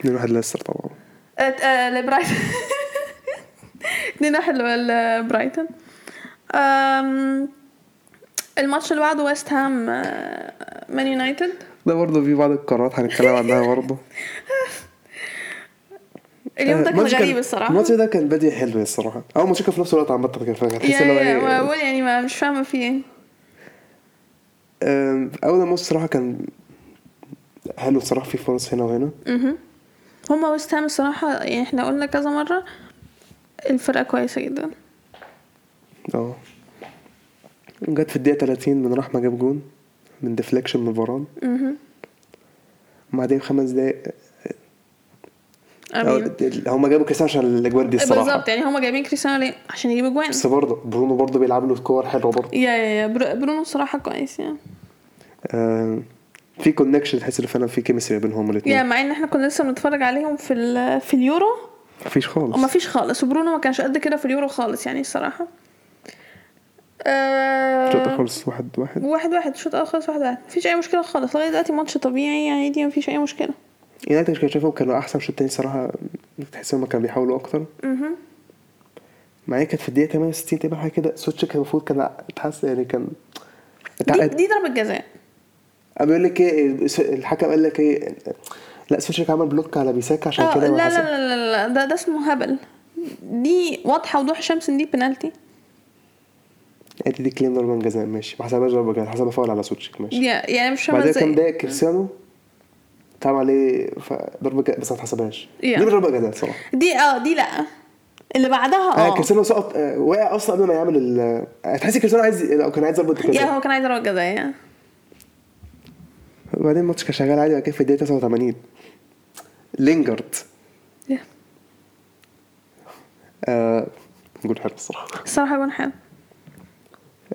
Speaker 2: 2 1 ليستر طبعا
Speaker 1: آه، آه، لبرايتون 2 1 لبرايتون أم، Um, الماتش اللي بعده ويست هام آه، مان يونايتد
Speaker 2: ده برضه في بعض القرارات هنتكلم عنها برضه
Speaker 1: اليوم ده كان
Speaker 2: الماتش
Speaker 1: غريب الصراحه
Speaker 2: الماتش ده كان بادئ حلو الصراحه اول ماتش كان في نفس الوقت عامه كان فاهم تحس
Speaker 1: يا
Speaker 2: ان هو
Speaker 1: يا ما
Speaker 2: ايه
Speaker 1: بقول يعني ما مش فاهمه في ايه
Speaker 2: آم، اول ماتش الصراحه كان حلو الصراحه في فرص هنا وهنا
Speaker 1: هما ويست هام الصراحه يعني احنا قلنا كذا مره الفرقه كويسه جدا
Speaker 2: اه جت في الدقيقه 30 من رحمه جاب جون من ديفليكشن من فاران بعدين خمس دقايق
Speaker 1: امين
Speaker 2: هم جابوا كريستيانو عشان الاجوان دي الصراحه
Speaker 1: بالظبط يعني هما جايبين كريستيانو ليه عشان يجيبوا جوان
Speaker 2: بس برضه برونو برضه بيلعب له كور حلوه برضه
Speaker 1: يا يا يا برو- برونو الصراحه كويس يعني
Speaker 2: آه في كونكشن تحس ان فعلا في كيمستري بينهم
Speaker 1: يا
Speaker 2: الاثنين
Speaker 1: مع ان احنا كنا لسه بنتفرج عليهم في ال- في اليورو
Speaker 2: مفيش خالص
Speaker 1: وما فيش خالص وبرونو ما كانش قد كده في اليورو خالص يعني الصراحه
Speaker 2: شوطه
Speaker 1: أه
Speaker 2: خالص واحد واحد
Speaker 1: واحد واحد شوط اول خالص واحد واحد مفيش اي مشكله خالص لغايه دلوقتي ماتش طبيعي عادي مفيش اي مشكله
Speaker 2: يونايتد مش كان شايفهم كانوا احسن شوط تاني صراحه تحس انهم كانوا بيحاولوا اكتر مع إن كانت في الدقيقه 68 تقريبا حاجه كده سوتش كان المفروض كان اتحس يعني كان
Speaker 1: دي,
Speaker 2: اتعقد
Speaker 1: دي ضربه جزاء
Speaker 2: إيه، بيقول لك ايه الحكم قال لك ايه لا سوشيك عمل بلوك على بيساكا عشان
Speaker 1: آه،
Speaker 2: كده
Speaker 1: لا,
Speaker 2: ما
Speaker 1: لا
Speaker 2: حسب
Speaker 1: لا لا لا ده ده اسمه هبل دي واضحه وضوح شمس ان دي بنالتي
Speaker 2: ادي إيه، دي كليم ضربه من جزاء ماشي ما حسبهاش ضربه جزاء حسبها فاول على سوتشيك ماشي
Speaker 1: يا- يعني مش فاهمه
Speaker 2: بعد كده كان
Speaker 1: ازاي
Speaker 2: ضايق كريستيانو اتعمل عليه ف- ضربه جزاء بس ما اتحسبهاش
Speaker 1: Yeah.
Speaker 2: دي مش ضربه جزاء صراحه
Speaker 1: دي اه دي لا اللي بعدها
Speaker 2: اه
Speaker 1: اه
Speaker 2: كريستيانو سقط آه، وقع اصلا قبل ما يعمل ال هتحسي كريستيانو عايز لو كان عايز ضربه
Speaker 1: يا
Speaker 2: جزاء
Speaker 1: هو كان عايز ضربه جزاء
Speaker 2: وبعدين الماتش كان شغال عادي بعد كده في الدقيقه 89 لينجارد
Speaker 1: يا.
Speaker 2: آه نقول حلو الصراحه
Speaker 1: الصراحه جون حلو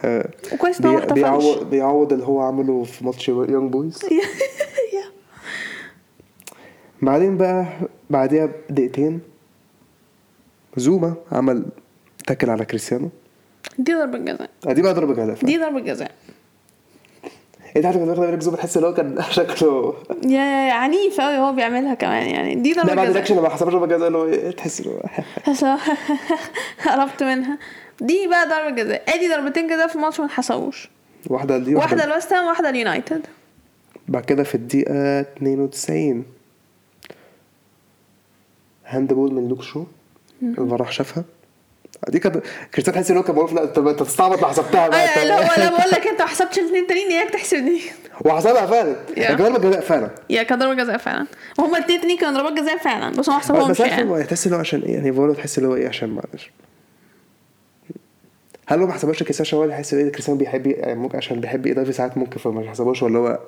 Speaker 2: آه
Speaker 1: وكويس ان هو ما
Speaker 2: بي-
Speaker 1: احتفلش
Speaker 2: بيعوض بيعوض اللي هو عمله في ماتش يونج بويز
Speaker 1: يا- يا.
Speaker 2: بعدين بقى بعديها بدقيقتين زوما عمل تاكل على كريستيانو
Speaker 1: دي ضربه جزاء
Speaker 2: آه، دي بقى ضربه جزاء فعلا.
Speaker 1: دي ضربه جزاء
Speaker 2: انت حتى كنت واخد بالك زوما تحس ان هو كان شكله
Speaker 1: يا يا- يا عنيف قوي هو بيعملها كمان يعني دي
Speaker 2: لا
Speaker 1: ضربه
Speaker 2: بعد الاكشن
Speaker 1: جزاء
Speaker 2: لما حسبش ضربه جزاء اللي هو إيه، تحس ان هو
Speaker 1: بس لو- قربت منها دي بقى ضربه جزاء ادي ضربتين جزاء في ماتش ما اتحسبوش
Speaker 2: واحده دي
Speaker 1: واحده لويست هام واحده اليونايتد
Speaker 2: بعد كده في الدقيقة 92 هاند بول من لوك شو الفار راح شافها دي كانت كريستيانو تحس ان هو كان بيقول لا انت انت بتستعبط ما حسبتها بقى
Speaker 1: ايوه اللي
Speaker 2: أنت-
Speaker 1: هو انا بقول لك انت ما حسبتش الاثنين التانيين اياك تحسب دي
Speaker 2: وحسبها فعلا
Speaker 1: يا.
Speaker 2: الجوال ما جزاء فعلا
Speaker 1: يا كان ضربه جزاء فعلا وهما الاثنين التانيين كانوا ضربات جزاء فعلا بس هو ما حسبهمش
Speaker 2: بس عارف
Speaker 1: يعني
Speaker 2: هو تحس ان هو عشان ايه يعني فولو تحس ان هو ايه عشان معلش هل هو ما حسبهاش كريستيانو عشان هو اللي حس ان كريستيانو بيحب ي- يعني ممكن عشان بيحب يضيف ساعات ممكن فما حسبهاش ولا هو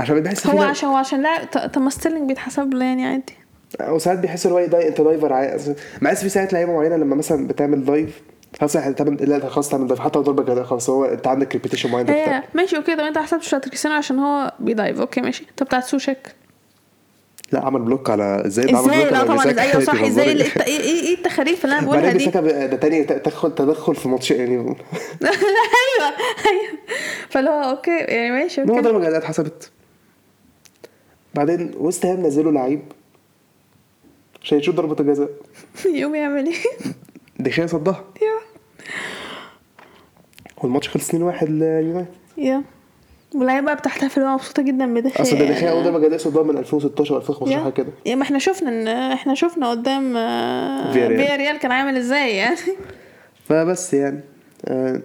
Speaker 2: عشان بيحس
Speaker 1: هو
Speaker 2: فينا-
Speaker 1: عشان هو عشان لا ط- طب ما ستيرلينج بيتحسب له يعني عادي
Speaker 2: وساعات بيحس ان هو يضايق انت دايفر عايز مع في ساعات لعيبه معينه لما مثلا بتعمل دايف خلاص إحنا تعمل لا ده خلاص تعمل دايف حتى لو ضربه جزاء خلاص هو انت عندك ريبيتيشن معين ده
Speaker 1: هي
Speaker 2: بتاع.
Speaker 1: ماشي اوكي طب انت حسبتش بتاعت كريستيانو عشان هو بيدايف اوكي ماشي طب بتاعت سوشك
Speaker 2: لا عمل بلوك على ازاي ده عمل
Speaker 1: ازاي
Speaker 2: بلوك
Speaker 1: لا
Speaker 2: على
Speaker 1: طبعا
Speaker 2: بيساكا.
Speaker 1: ازاي ايوه صح
Speaker 2: أنت
Speaker 1: ازاي
Speaker 2: بتهزري؟
Speaker 1: ال- الت- ايه ايه إيه التخاريف اللي انا بقولها
Speaker 2: بعدين
Speaker 1: دي
Speaker 2: بيساكا بقى ده تاني تدخل تدخل في ماتش يعني إن
Speaker 1: ايوه ايوه فاللي هو اوكي يعني ماشي
Speaker 2: هو
Speaker 1: اوكي
Speaker 2: ضربه جزاء اتحسبت بعدين ويست هام نزلوا لعيب عشان يشوط ضربه الجزاء
Speaker 1: يقوم يعمل ايه
Speaker 2: دخيا صدها
Speaker 1: يا
Speaker 2: والماتش خلص 2-1 ليونايتد
Speaker 1: يا واللعيبه بقى بتحتفل وهي مبسوطه جدا بده
Speaker 2: اصل ده دخيا اول ضربه جزاء صدها من 2016 و 2015 حاجه كده
Speaker 1: يعني. يا ما احنا شفنا ان احنا شفنا قدام آه،
Speaker 2: فيا ريال.
Speaker 1: فيا ريال كان عامل ازاي يعني
Speaker 2: فبس يعني آه،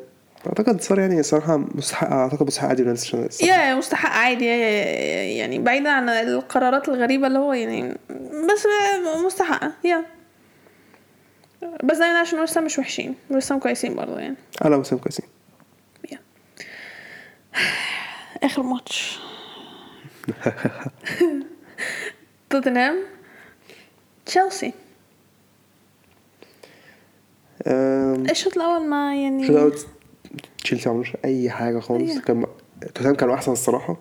Speaker 2: اعتقد صار يعني صراحه مستحق اعتقد مستحق عادي يونايتد عشان الصراحة.
Speaker 1: يا يا مستحق عادي يا- يا- يعني بعيدا عن القرارات الغريبة اللي هو يعني بس مستحقة يا بس دايما عشان ولسه مش وحشين ولسه كويسين برضه يعني
Speaker 2: اه لا وسام كويسين
Speaker 1: يا. آخر ماتش توتنهام تشيلسي
Speaker 2: آم،
Speaker 1: الشوط الأول ما يعني
Speaker 2: شوط أول تشيلسي ما عملوش اي حاجه خالص
Speaker 1: أيوة.
Speaker 2: كان توتنهام كانوا احسن الصراحه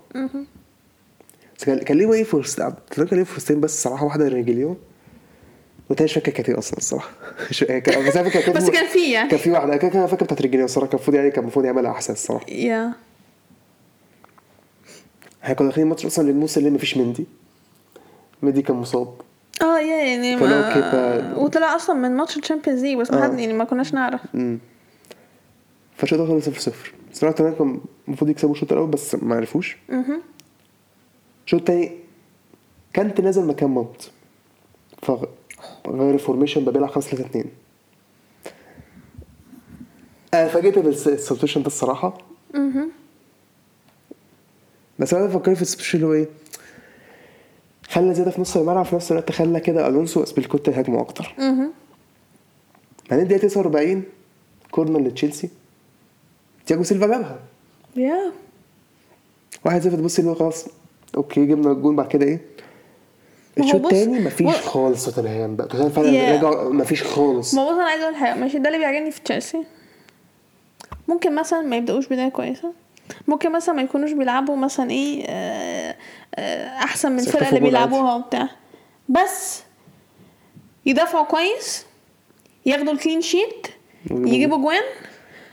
Speaker 2: بس كان كان ليه ايه فرص لا، توتنهام كان ليه فرصتين بس صراحه واحده لريجيليو والتانية مش فاكر كانت ايه اصلا الصراحه مش كان- بس انا فاكر كانت-
Speaker 1: بس كان في يعني.
Speaker 2: كان في واحده كان كان فاكر بتاعت ريجيليو الصراحه كان المفروض يعني كان المفروض يعملها احسن الصراحه
Speaker 1: يا
Speaker 2: احنا كنا داخلين الماتش اصلا للموسم اللي مفيش مندي مندي كان مصاب
Speaker 1: اه يا يعني
Speaker 2: طلعوا كده-
Speaker 1: ما وطلع اصلا من ماتش الشامبيونز ليج بس ما
Speaker 2: آه.
Speaker 1: حد يعني ما كناش نعرف
Speaker 2: فالشوط الاول خلص 0 0 صراحه كان كان المفروض يكسبوا الشوط الاول بس ما عرفوش
Speaker 1: مهم.
Speaker 2: الشوط الثاني كانت نازل مكان ماونت فغير الفورميشن بقى بيلعب 5 3 2 انا اتفاجئت بالسبستيوشن ده الصراحه
Speaker 1: مهم.
Speaker 2: بس انا فكرت في السبستيوشن اللي هو ايه خلى زياده في نص الملعب في نفس الوقت خلى كده الونسو واسبيلكوتا يهاجموا اكتر
Speaker 1: مهم.
Speaker 2: بعدين الدقيقه 49 كورنر لتشيلسي تياجو سيلفا جابها
Speaker 1: يا
Speaker 2: واحد صفر تبص اللي هو خلاص اوكي جبنا الجون بعد كده ايه
Speaker 1: ما هو
Speaker 2: الشوط
Speaker 1: بص-
Speaker 2: التاني مفيش
Speaker 1: و-
Speaker 2: خالص توتنهام بقى توتنهام فعلا
Speaker 1: يا.
Speaker 2: رجعوا مفيش خالص
Speaker 1: ما بص انا عايزه اقول حاجه ماشي ده اللي بيعجبني في تشيلسي ممكن مثلا ما يبداوش بدايه كويسه ممكن مثلا ما يكونوش بيلعبوا مثلا ايه آه، آه، احسن من
Speaker 2: بس
Speaker 1: الفرقه اللي
Speaker 2: يخطفوا جول عادي.
Speaker 1: بيلعبوها وبتاع بس يدافعوا كويس ياخدوا الكلين شيت يجيبوا جوان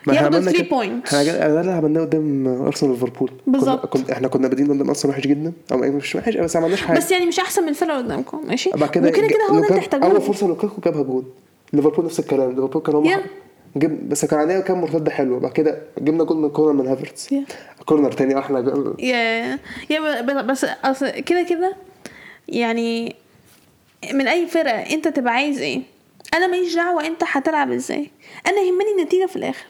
Speaker 2: ما إحنا
Speaker 1: ياخدوا
Speaker 2: عملنا
Speaker 1: 3
Speaker 2: كده-
Speaker 1: بوينتس
Speaker 2: احنا جا- ده اللي عملناه قدام ارسنال ليفربول كنا-
Speaker 1: بالظبط.
Speaker 2: كنا- احنا كنا بادئين قدام ارسنال وحش جدا او إيه، مش وحش بس ما عملناش حاجه
Speaker 1: بس يعني مش احسن من الفرقه اللي قدامكم ماشي
Speaker 2: بعد كده
Speaker 1: وكده كده هو ده اللي
Speaker 2: لوكاكو- اول
Speaker 1: تحتاجوه
Speaker 2: فرصه لوكاكو جابها جون ليفربول نفس الكلام ليفربول كان هم
Speaker 1: يا.
Speaker 2: جب بس كان علينا كام مرتده حلوه بعد كده جبنا جول من كورنر من هافرتز
Speaker 1: يا.
Speaker 2: كورنر تاني احنا جا-
Speaker 1: يا يا ب- ب- بس أصل كده كده يعني من اي فرقه انت تبقى عايز ايه انا ماليش دعوه انت هتلعب ازاي انا يهمني النتيجه في الاخر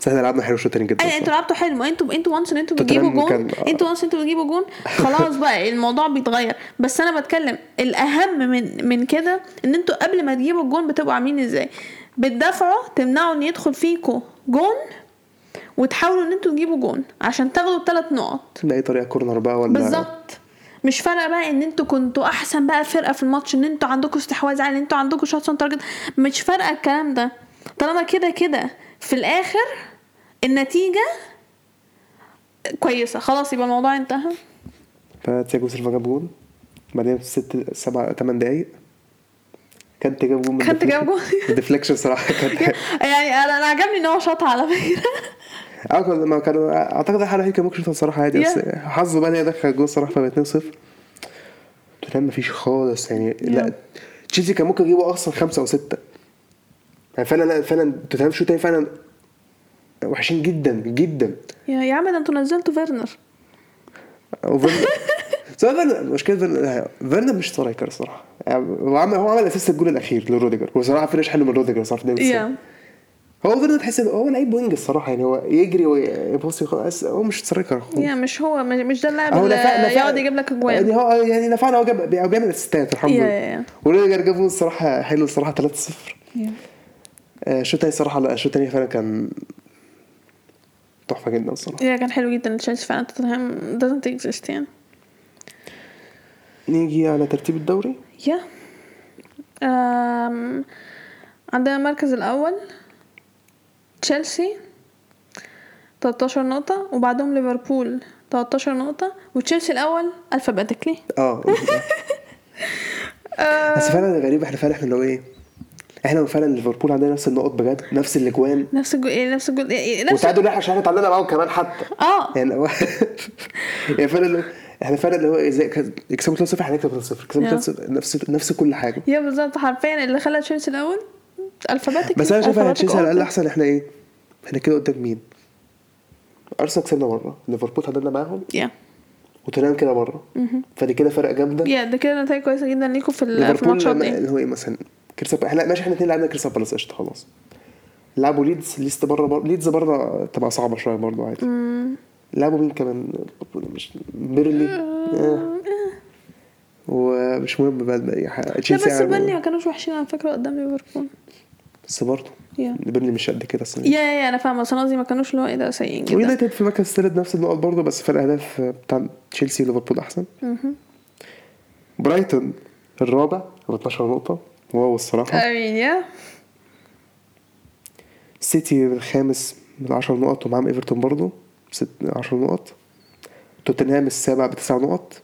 Speaker 2: بس احنا لعبنا حلو الشوط التاني جدا
Speaker 1: انا انتوا لعبتوا حلو انتوا انتوا وانس انتوا
Speaker 2: توتنهام
Speaker 1: بتجيبوا جون
Speaker 2: كان-
Speaker 1: انتوا وانس انتوا بتجيبوا جون خلاص بقى الموضوع بيتغير بس انا بتكلم الاهم من من كده ان انتوا قبل ما تجيبوا الجون بتبقوا عاملين ازاي بتدافعوا تمنعوا ان يدخل فيكوا جون وتحاولوا ان انتوا تجيبوا جون عشان تاخدوا الثلاث نقط
Speaker 2: بأي طريقة كورنر بقى ولا
Speaker 1: بالظبط مش فارقه بقى ان انتوا كنتوا احسن بقى فرقه في الماتش ان انتوا عندكم استحواذ على ان انتوا عندكم شوتس اون تارجت مش فارقه الكلام ده طالما كده كده في الاخر النتيجه كويسه خلاص يبقى الموضوع انتهى
Speaker 2: فتياجو سيلفا جاب جول بعدين في ست سبع تمن دقايق كانت جاب جول من
Speaker 1: كانت جاب جول.
Speaker 2: الديفليكشن صراحة كانت
Speaker 1: يعني انا أنا عجبني ان هو شاطها على فكره
Speaker 2: اه كان- ما كان اعتقد الحلقه الوحيده كان ممكن يشوطها الصراحه عادي بس
Speaker 1: Yeah.
Speaker 2: حظه بقى ان هي دخل جول الصراحه فبقت 2 0 توتنهام مفيش خالص يعني لا تشيلسي كان ممكن يجيبوا اصلا خمسه او سته يعني فعلا لا فعلا توتنهام شو تاني فعلا وحشين جدا جدا
Speaker 1: يا يا عم ده انتوا نزلتوا فيرنر
Speaker 2: وفيرنر سواء فيرنر مشكله فيرنر فيرنر مش سترايكر الصراحه يعني هو عمل هو عمل اساس الجول الاخير لروديجر وصراحه فينش حلو من روديجر صراحه في دقيقة 90.
Speaker 1: يا
Speaker 2: هو فيرنر تحس إن هو لعيب وينج الصراحه يعني هو يجري ويبص خلاص هو مش سترايكر خالص
Speaker 1: يا مش هو مش مش ده اللاعب
Speaker 2: هو
Speaker 1: اللي
Speaker 2: نفع نفع
Speaker 1: يقعد يجيب لك اجوان
Speaker 2: يعني هو يعني نفعنا هو جاب بي- بيعمل اسيستات الحمد
Speaker 1: يا-
Speaker 2: لله
Speaker 1: يا- يا.
Speaker 2: وروديجر جابوا الصراحه حلو الصراحه 3-0
Speaker 1: يا.
Speaker 2: آه، الشوط الثاني الصراحه لا الشوط الثاني فعلا كان تحفه جدا الصراحه
Speaker 1: يا كان حلو جدا تشيلسي فعلا توتنهام doesn't exist يعني
Speaker 2: نيجي على ترتيب الدوري
Speaker 1: يا أم، عندنا المركز الأول تشيلسي 13 نقطة وبعدهم ليفربول 13 نقطة وتشيلسي الأول ألفابيتيكلي
Speaker 2: اه بس فعلا غريب احنا فعلا احنا اللي هو ايه احنا فعلا ليفربول عندنا نفس النقط بجد نفس الاجوان
Speaker 1: نفس الجو... إيه، نفس الجو... إيه، إيه، نفس
Speaker 2: والتعادل اللي احنا عشان اتعادلنا معاهم كمان حتى
Speaker 1: اه
Speaker 2: يعني هو يعني فعلا اللي هو- احنا فعلا اللي هو إيه، ازاي كان- يكسبوا 3-0 هنكسب 3-0
Speaker 1: Yeah.
Speaker 2: يكسبوا 3-0 نفس نفس كل حاجه
Speaker 1: يا بالظبط حرفيا اللي خلى تشيلسي الأول ألفابيتيكلي
Speaker 2: بس انا شايف ان
Speaker 1: alphabetical
Speaker 2: تشيلسي على الاقل
Speaker 1: order.
Speaker 2: احسن احنا ايه احنا كده قدام مين ارسنال كسبنا مره ليفربول تعادلنا معاهم
Speaker 1: يا
Speaker 2: وتنام كده مره فدي كده فرق جامده
Speaker 1: يا ده كده نتائج كويسة جدا ليكوا في ال- في
Speaker 2: ليفربول
Speaker 1: الماتشات
Speaker 2: لما-
Speaker 1: دي
Speaker 2: اللي هو ايه مثلا كريستال احنا ماشي احنا الاثنين لعبنا كريستال بالاس قشطه خلاص لعبوا ليدز ليدز بره بر... ليدز بره تبقى صعبه شويه برضه عادي لعبوا مين كمان ليفربول مش بيرلي آه. ومش مهم بقى بقى-
Speaker 1: لا
Speaker 2: تشيلسي يعني
Speaker 1: بس
Speaker 2: لعبوا-
Speaker 1: بيرني ما كانوش وحشين على فكرة قدام ليفربول
Speaker 2: بس برضه
Speaker 1: Yeah.
Speaker 2: بيرلي مش قد كده اصلا
Speaker 1: يا يا انا فاهمه بس انا قصدي ما كانوش اللي هو ايه ده سيئين جدا
Speaker 2: ويونايتد في مركز الثالث نفس النقط برضه بس فرق اهداف بتاع تشيلسي وليفربول احسن برايتون الرابع ب 12 نقطة واو الصراحة
Speaker 1: امين يا
Speaker 2: سيتي الخامس ب 10 نقط ومعاهم ايفرتون برضه 10 نقط توتنهام السابع بتسع نقط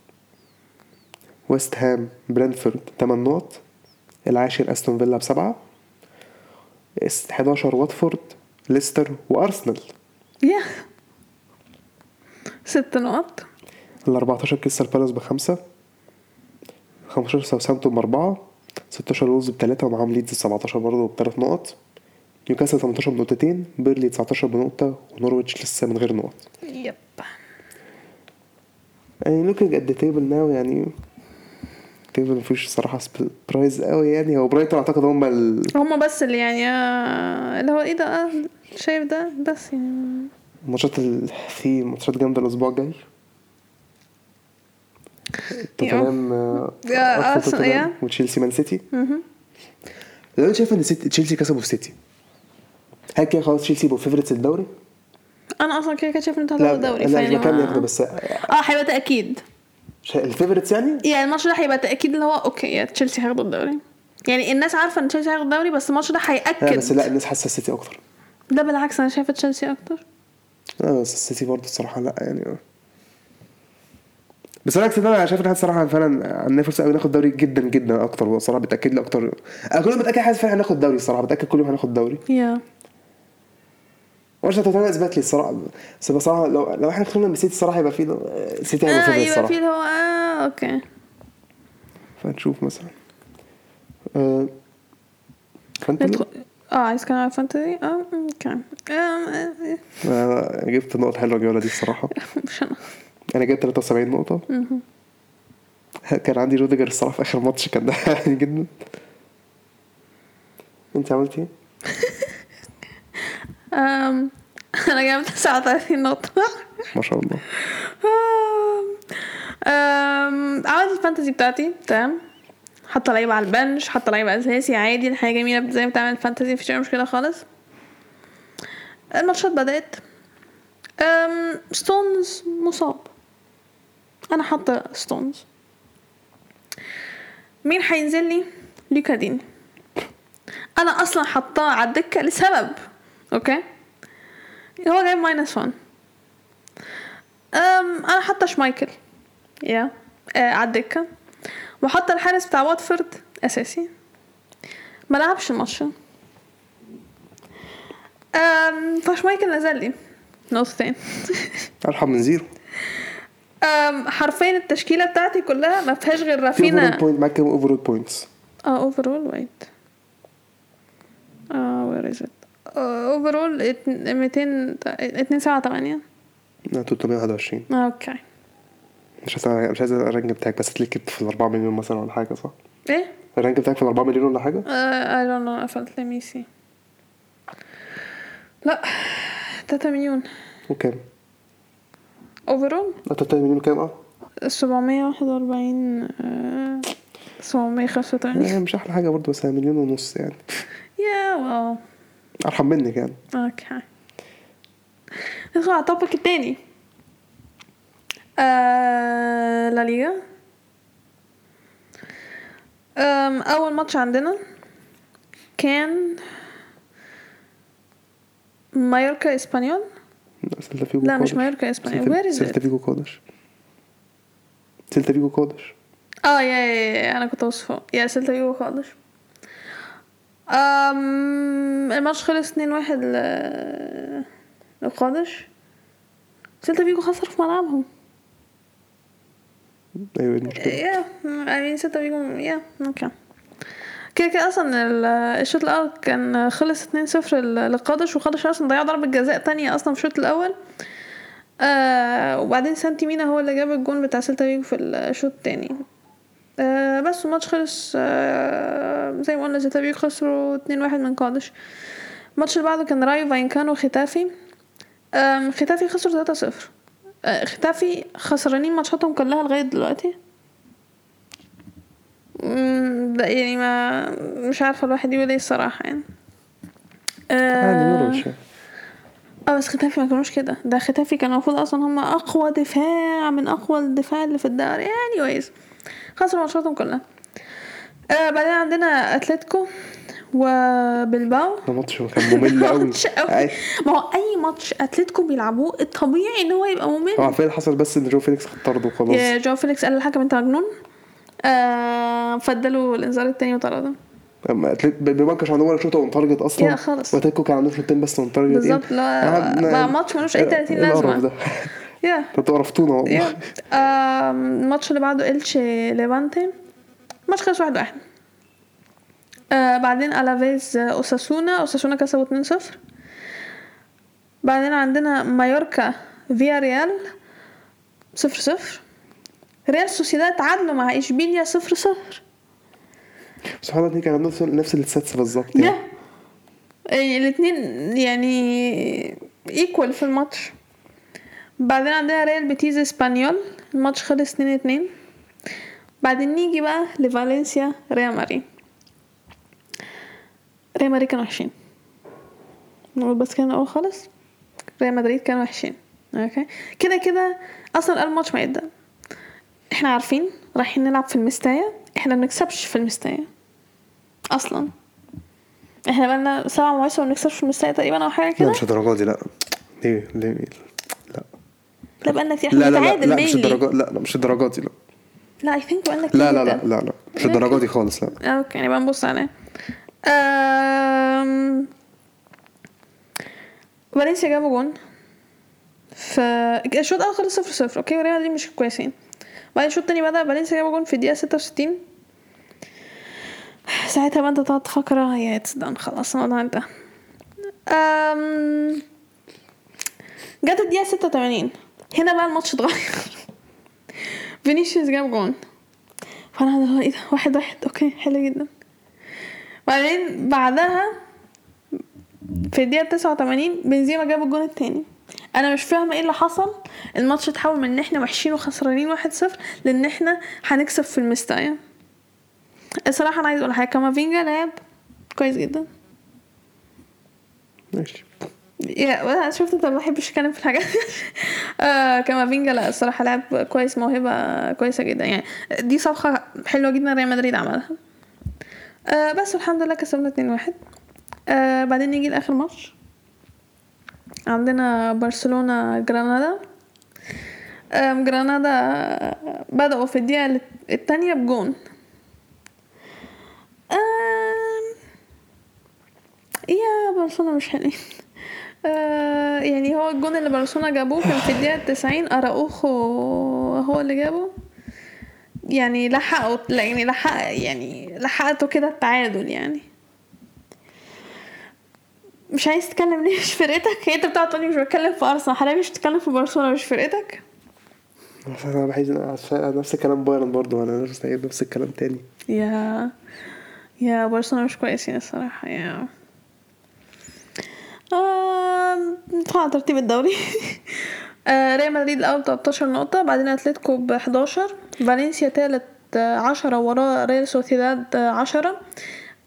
Speaker 2: ويست هام برينفورد 8 نقط العاشر استون فيلا بسبعة الس- 11 واتفورد ليستر وارسنال
Speaker 1: يا ست نقط
Speaker 2: ال 14 كريستال بالاس بخمسة 15 ساوثهامبتون بأربعة 16 وولز بتلاتة ومعاهم ليدز 17 برضه بتلات نقط نيوكاسل 18 بنقطتين بيرلي 19 بنقطة ونورويتش لسه من غير نقط
Speaker 1: يب
Speaker 2: يعني looking at the table now يعني تيبل مفيش الصراحة سبرايز قوي يعني هو برايتون أعتقد هما ال-
Speaker 1: هما بس اللي يعني آه، اللي هو ايه ده آه، شايف ده بس يعني
Speaker 2: الماتشات ال- في ماتشات جامدة الأسبوع الجاي توتنهام آه،
Speaker 1: يا
Speaker 2: أرسنال
Speaker 1: أرسنال،
Speaker 2: توتنهام
Speaker 1: يا.
Speaker 2: وتشيلسي مان سيتي لو أنا شايف إن سيتي- تشيلسي كسبوا في سيتي هل كده خلاص تشيلسي يبقوا فيفرتس الدوري؟
Speaker 1: انا اصلا كده كده شايف ان انتوا هتاخدوا الدوري
Speaker 2: لا
Speaker 1: فيعني
Speaker 2: مش بكام
Speaker 1: ما-
Speaker 2: ياخدوا بس آه،
Speaker 1: اه هيبقى تاكيد
Speaker 2: مش- الفيفرتس يعني
Speaker 1: يعني الماتش ده هيبقى تاكيد اللي هو اوكي يا تشيلسي هياخدوا الدوري يعني الناس عارفه ان تشيلسي هياخد الدوري بس الماتش ده
Speaker 2: لا بس لا
Speaker 1: هياكد
Speaker 2: الناس حاسة السيتي أكتر
Speaker 1: ده بالعكس انا شايفه تشيلسي اكتر
Speaker 2: لا بس السيتي برضه الصراحة لا يعني بس العكس ده انا شايف ان احنا الصراحه فعلا عندنا فرصه قوي ناخد دوري جدا جدا اكتر والصراحه بتاكد لي اكتر انا كل يوم متاكد حاسس فعلا هناخد دوري الصراحه بتاكد كل يوم هناخد دوري
Speaker 1: يا
Speaker 2: وارسنال توتنهام اثبت لي الصراحه بس بصراحه لو لو احنا خسرنا من السيتي الصراحه يبقى في السيتي هيبقى
Speaker 1: اه
Speaker 2: فيفرت
Speaker 1: يبقى في
Speaker 2: الصراحه
Speaker 1: اللي هو اه اوكي
Speaker 2: فنشوف مثلا آه، فانت
Speaker 1: ندخل اه عايز كلام عن الفانتزي اه اوكي آم، آه،
Speaker 2: أنا جبت نقط حلوه الجوله دي الصراحه
Speaker 1: مش انا
Speaker 2: انا جبت 73 نقطه كان عندي روديجر الصراحه في اخر ماتش كان ضحكني جدا انت عملت ايه؟
Speaker 1: أم، انا جايبة 39 نقطة
Speaker 2: ما شاء الله
Speaker 1: أم، أم، عملت آه، الفانتزي بتاعتي تمام حاطة لعيب على البنش حاطة لعيب اساسي عادي الحياة جميلة زي ما بتعمل الفانتزي مفيش اي مشكلة خالص الماتشات بدأت أم، ستونز مصاب انا حاطة ستونز مين هينزل لي لوكا دين انا اصلا حطاه على الدكه لسبب اوكي هو جايب ماينس 1 أم انا حاطه شمايكل يا آه على الدكه وحاطه الحارس بتاع واتفورد اساسي ما لعبش الماتش أم فشمايكل نزل لي نقطتين
Speaker 2: ارحم من زيرو
Speaker 1: أم حرفيا التشكيله بتاعتي كلها ما فيهاش غير
Speaker 2: في اوفرول
Speaker 1: رافينا
Speaker 2: بوينت معاك كام اوفرول بوينتس
Speaker 1: اه اوفرول وايت اه وير از ات اوفرول 200 278
Speaker 2: لا 321
Speaker 1: اوكي
Speaker 2: مش عايز مش عايز الرانك بتاعك بس تلاقيك كنت في ال 4 مليون مثلا ولا حاجه صح؟
Speaker 1: ايه
Speaker 2: الرانك بتاعك في ال 4 مليون ولا حاجه؟
Speaker 1: اي دونت نو قفلت لي سي لا 3 مليون
Speaker 2: وكام؟
Speaker 1: اوفرول
Speaker 2: لا 3 مليون كام اه؟
Speaker 1: 741 آه، 785
Speaker 2: يعني مش احلى حاجه برضه بس مليون ونص يعني
Speaker 1: يا واو
Speaker 2: ارحم منك يعني
Speaker 1: اوكي ندخل على التوبيك التاني آه... لا ليغا آم... اول ماتش عندنا كان مايوركا اسبانيول
Speaker 2: لا سيلتا فيجو
Speaker 1: لا مش
Speaker 2: قادر.
Speaker 1: مايوركا إيه؟ اسبانيول
Speaker 2: سيلتا-
Speaker 1: وير از
Speaker 2: سيلتا فيجو قادر سيلتا فيجو قادر
Speaker 1: اه يا يا يا انا كنت اوصفه يا سيلتا فيجو خالص أم الماتش خلص 2-1 ل لقادش سيلتا فيجو خسر في ملعبهم
Speaker 2: ايوه إيه المشكله
Speaker 1: يا I mean سيلتا فيجو يا اوكي كده كده اصلا ال- الشوط الاول كان خلص 2-0 ل- لقادش وقادش اصلا ضيعوا ضربة جزاء تانية اصلا في الشوط الاول آه وبعدين سانتي مينا هو اللي جاب الجون بتاع سيلتا فيجو في الشوط التاني آه بس الماتش خلص آه زي ما قلنا سيلتا فيجو خسروا 2-1 من قادش الماتش اللي بعده كان رايو فاينكانو وختافي آم، ختافي خسر 3-0 آه، ختافي خسرانين ماتشاتهم كلها لغاية دلوقتي مم، لا يعني ما مش عارفة الواحد يقول ايه الصراحة يعني
Speaker 2: يعني
Speaker 1: آه،
Speaker 2: نور مش
Speaker 1: اه بس ختافي ما كانوش كده ده ختافي كان المفروض اصلا هم اقوى دفاع من اقوى الدفاع اللي في الدوري يعني كويس خسروا ماتشاتهم كلها آه بعدين عندنا اتلتيكو وبلباو
Speaker 2: ده ماتش كان ممل قوي
Speaker 1: ماتش أوي.
Speaker 2: عايز-
Speaker 1: ما هو اي ماتش اتلتيكو بيلعبوه الطبيعي ان هو يبقى ممل
Speaker 2: هو عارفين اللي حصل بس ان جو فيليكس خد طرد
Speaker 1: يا
Speaker 2: وخلاص
Speaker 1: جو فيليكس قال للحكم انت مجنون آه فدلوا الانذار التاني وطرده
Speaker 2: اما أتلت- بما كانش عندهم ولا شوطه اون تارجت اصلا
Speaker 1: يا خالص.
Speaker 2: واتلتيكو كان عندهم شوطين بس إيه؟ اون تارجت
Speaker 1: بالظبط، لا، بقى ماتش ملوش أي 30 لازمة.
Speaker 2: إيه ده
Speaker 1: يا
Speaker 2: انتوا قرفتونا
Speaker 1: يا
Speaker 2: والله
Speaker 1: آم، الماتش اللي بعده إلشي ليفانتي ماتش خلص واحد واحد آه بعدين ألافيز آه، أوساسونا أوساسونا كسبوا 2-0 بعدين عندنا مايوركا فيا ريال 0-0 ريال سوسيداد تعادلوا مع إشبيليا 0-0
Speaker 2: سبحان الله كان عندهم نفس- نفس السادسه بالظبط
Speaker 1: يا
Speaker 2: يعني
Speaker 1: إيه، الاتنين يعني ايكوال في الماتش بعدين عندنا ريال بيتيز اسبانيول الماتش خلص 2 2 بعدين نيجي بقى لفالنسيا ريال ماري ريال ماري كانوا وحشين نقول بس كده الاول خالص ريال مدريد كانوا وحشين اوكي كده كده اصلا قبل الماتش ما يبدا احنا عارفين رايحين نلعب في المستاية احنا منكسبش في المستاية اصلا احنا بقالنا سبع مواسم ما بنكسبش في المستاية تقريبا او حاجه
Speaker 2: لا
Speaker 1: كده
Speaker 2: مش الدرجه دي لا ليه ليه لا
Speaker 1: لا بقالنا كتير
Speaker 2: لا
Speaker 1: احنا
Speaker 2: لا لا,
Speaker 1: بنتعادل
Speaker 2: لا مش
Speaker 1: mainly.
Speaker 2: الدرجات لا لا مش الدرجات دي لا
Speaker 1: لا اي ثينك بقالنا كتير
Speaker 2: لا لا
Speaker 1: جدا.
Speaker 2: لا لا, لا. مش الدرجات دي خالص لا
Speaker 1: اوكي نبقى نبص يعني عليه أم... فالنسيا جابوا جون ف الشوط الاول خلص 0 0 اوكي وريال مدريد مش كويسين بعدين الشوط التاني بدأ فالنسيا جابوا جون في الدقيقة 66 ساعتها بقى انت تقعد تفكر اه يا اتس دان خلاص الموضوع انتهى أم... جت الدقيقة 86 هنا بقى الماتش اتغير فينيسيوس جاب جون فانا اللي هو ايه ده واحد واحد اوكي حلو جدا بعدين بعدها في الدقيقة 89 بنزيما جاب الجون التاني انا مش فاهمة ايه اللي حصل الماتش اتحول من ان احنا وحشين وخسرانين 1-0 لان احنا هنكسب في المستايا الصراحة انا عايز اقول حاجة كامافينجا لعب كويس جدا
Speaker 2: ماشي
Speaker 1: يا انا شفت انت ما بحبش اتكلم في الحاجات دي. آه كامافينجا لا الصراحه لعب كويس موهبه كويسه جدا يعني دي صفقه حلوه جدا ريال مدريد عملها آه بس الحمد لله كسبنا 2 1 آه بعدين نيجي لاخر ماتش عندنا برشلونه جرانادا آم، جرانادا بدأوا في الدقيقة الثانية بجون آم، يا برشلونة مش حلوين آه، يعني هو الجون اللي برشلونة جابوه كان في الدقيقة 90 أراوخو هو اللي جابه يعني لحقوا لا، يعني لحق يعني لحقته كده التعادل يعني مش عايز تتكلم ليه مش فرقتك هي انت بتقعد تقولي مش بتكلم في ارسنال حاليا مش بتتكلم في برشلونة مش فرقتك
Speaker 2: بس انا بحس نفس الكلام بايرن برضه انا نفس نفس الكلام تاني
Speaker 1: يا يا برشلونة مش كويسين الصراحة يا آم، طلع ترتيب الدوري آه، ريال مدريد الأول 13 نقطة بعدين أتلتيكو ب 11 فالنسيا تالت 10 وراه ريال سوسيداد 10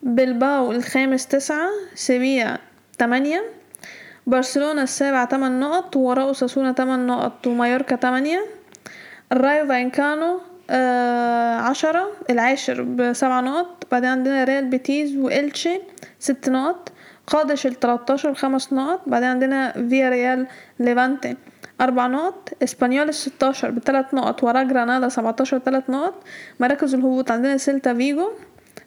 Speaker 1: بلباو الخامس 9 سيبيا 8 برشلونة السابع 8 نقط وراه أساسونا 8 نقط ومايوركا 8 الرايو فاينكانو آه عشرة العاشر بسبع نقط بعدين عندنا ريال بيتيز وإلتشي ست نقط قادش التلاتاشر خمس نقط بعدين عندنا فيا ريال ليفانتي أربع نقط اسبانيول الستاشر بتلات نقط وراه جرانادا سبعتاشر تلات نقط مراكز الهبوط عندنا سيلتا فيجو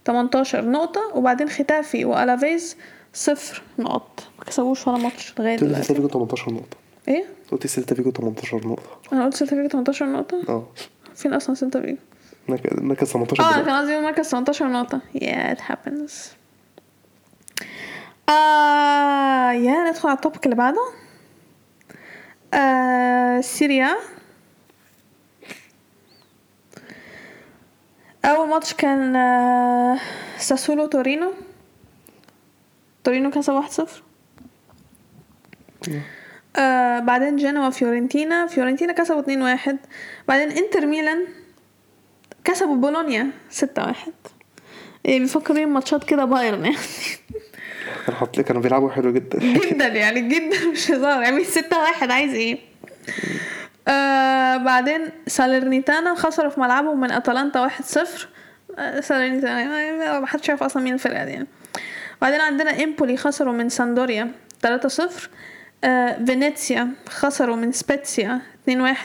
Speaker 1: تمنتاشر نقطة وبعدين ختافي وألافيز صفر نقط مكسبوش ولا ماتش لغاية
Speaker 2: قلت
Speaker 1: دلوقتي
Speaker 2: سيلتا فيجو 18 نقطة
Speaker 1: ايه؟
Speaker 2: قلت سيلتا فيجو 18 نقطة
Speaker 1: أنا قلت سيلتا فيجو تمنتاشر نقطة
Speaker 2: اه
Speaker 1: فين أصلا سيلتا فيجو؟
Speaker 2: نك- نكس 18
Speaker 1: اه
Speaker 2: دلوقتي.
Speaker 1: كان قصدي مركز 18 نقطة yeah it happens آه يا ندخل على التوبك اللي بعده آه سيريا أول ماتش كان آه ساسولو تورينو تورينو كسب 1-0 آه بعدين جنوا فيورنتينا فيورنتينا كسبوا 2-1 بعدين انتر ميلان كسبوا بولونيا 6 1 يعني بيفكرين ماتشات كده بايرن يعني
Speaker 2: كانوا حاط- كانوا بيلعبوا حلو جدا
Speaker 1: جدا يعني جدا مش هزار يعني 6 1 عايز ايه آه بعدين سالرنيتانا خسروا في ملعبهم من اتلانتا 1 0 آه، سالرنيتانا يعني ما حدش يعرف اصلا مين الفرقه دي يعني بعدين عندنا امبولي خسروا من ساندوريا 3 0 آه فينيسيا خسروا من سبيتسيا 2 1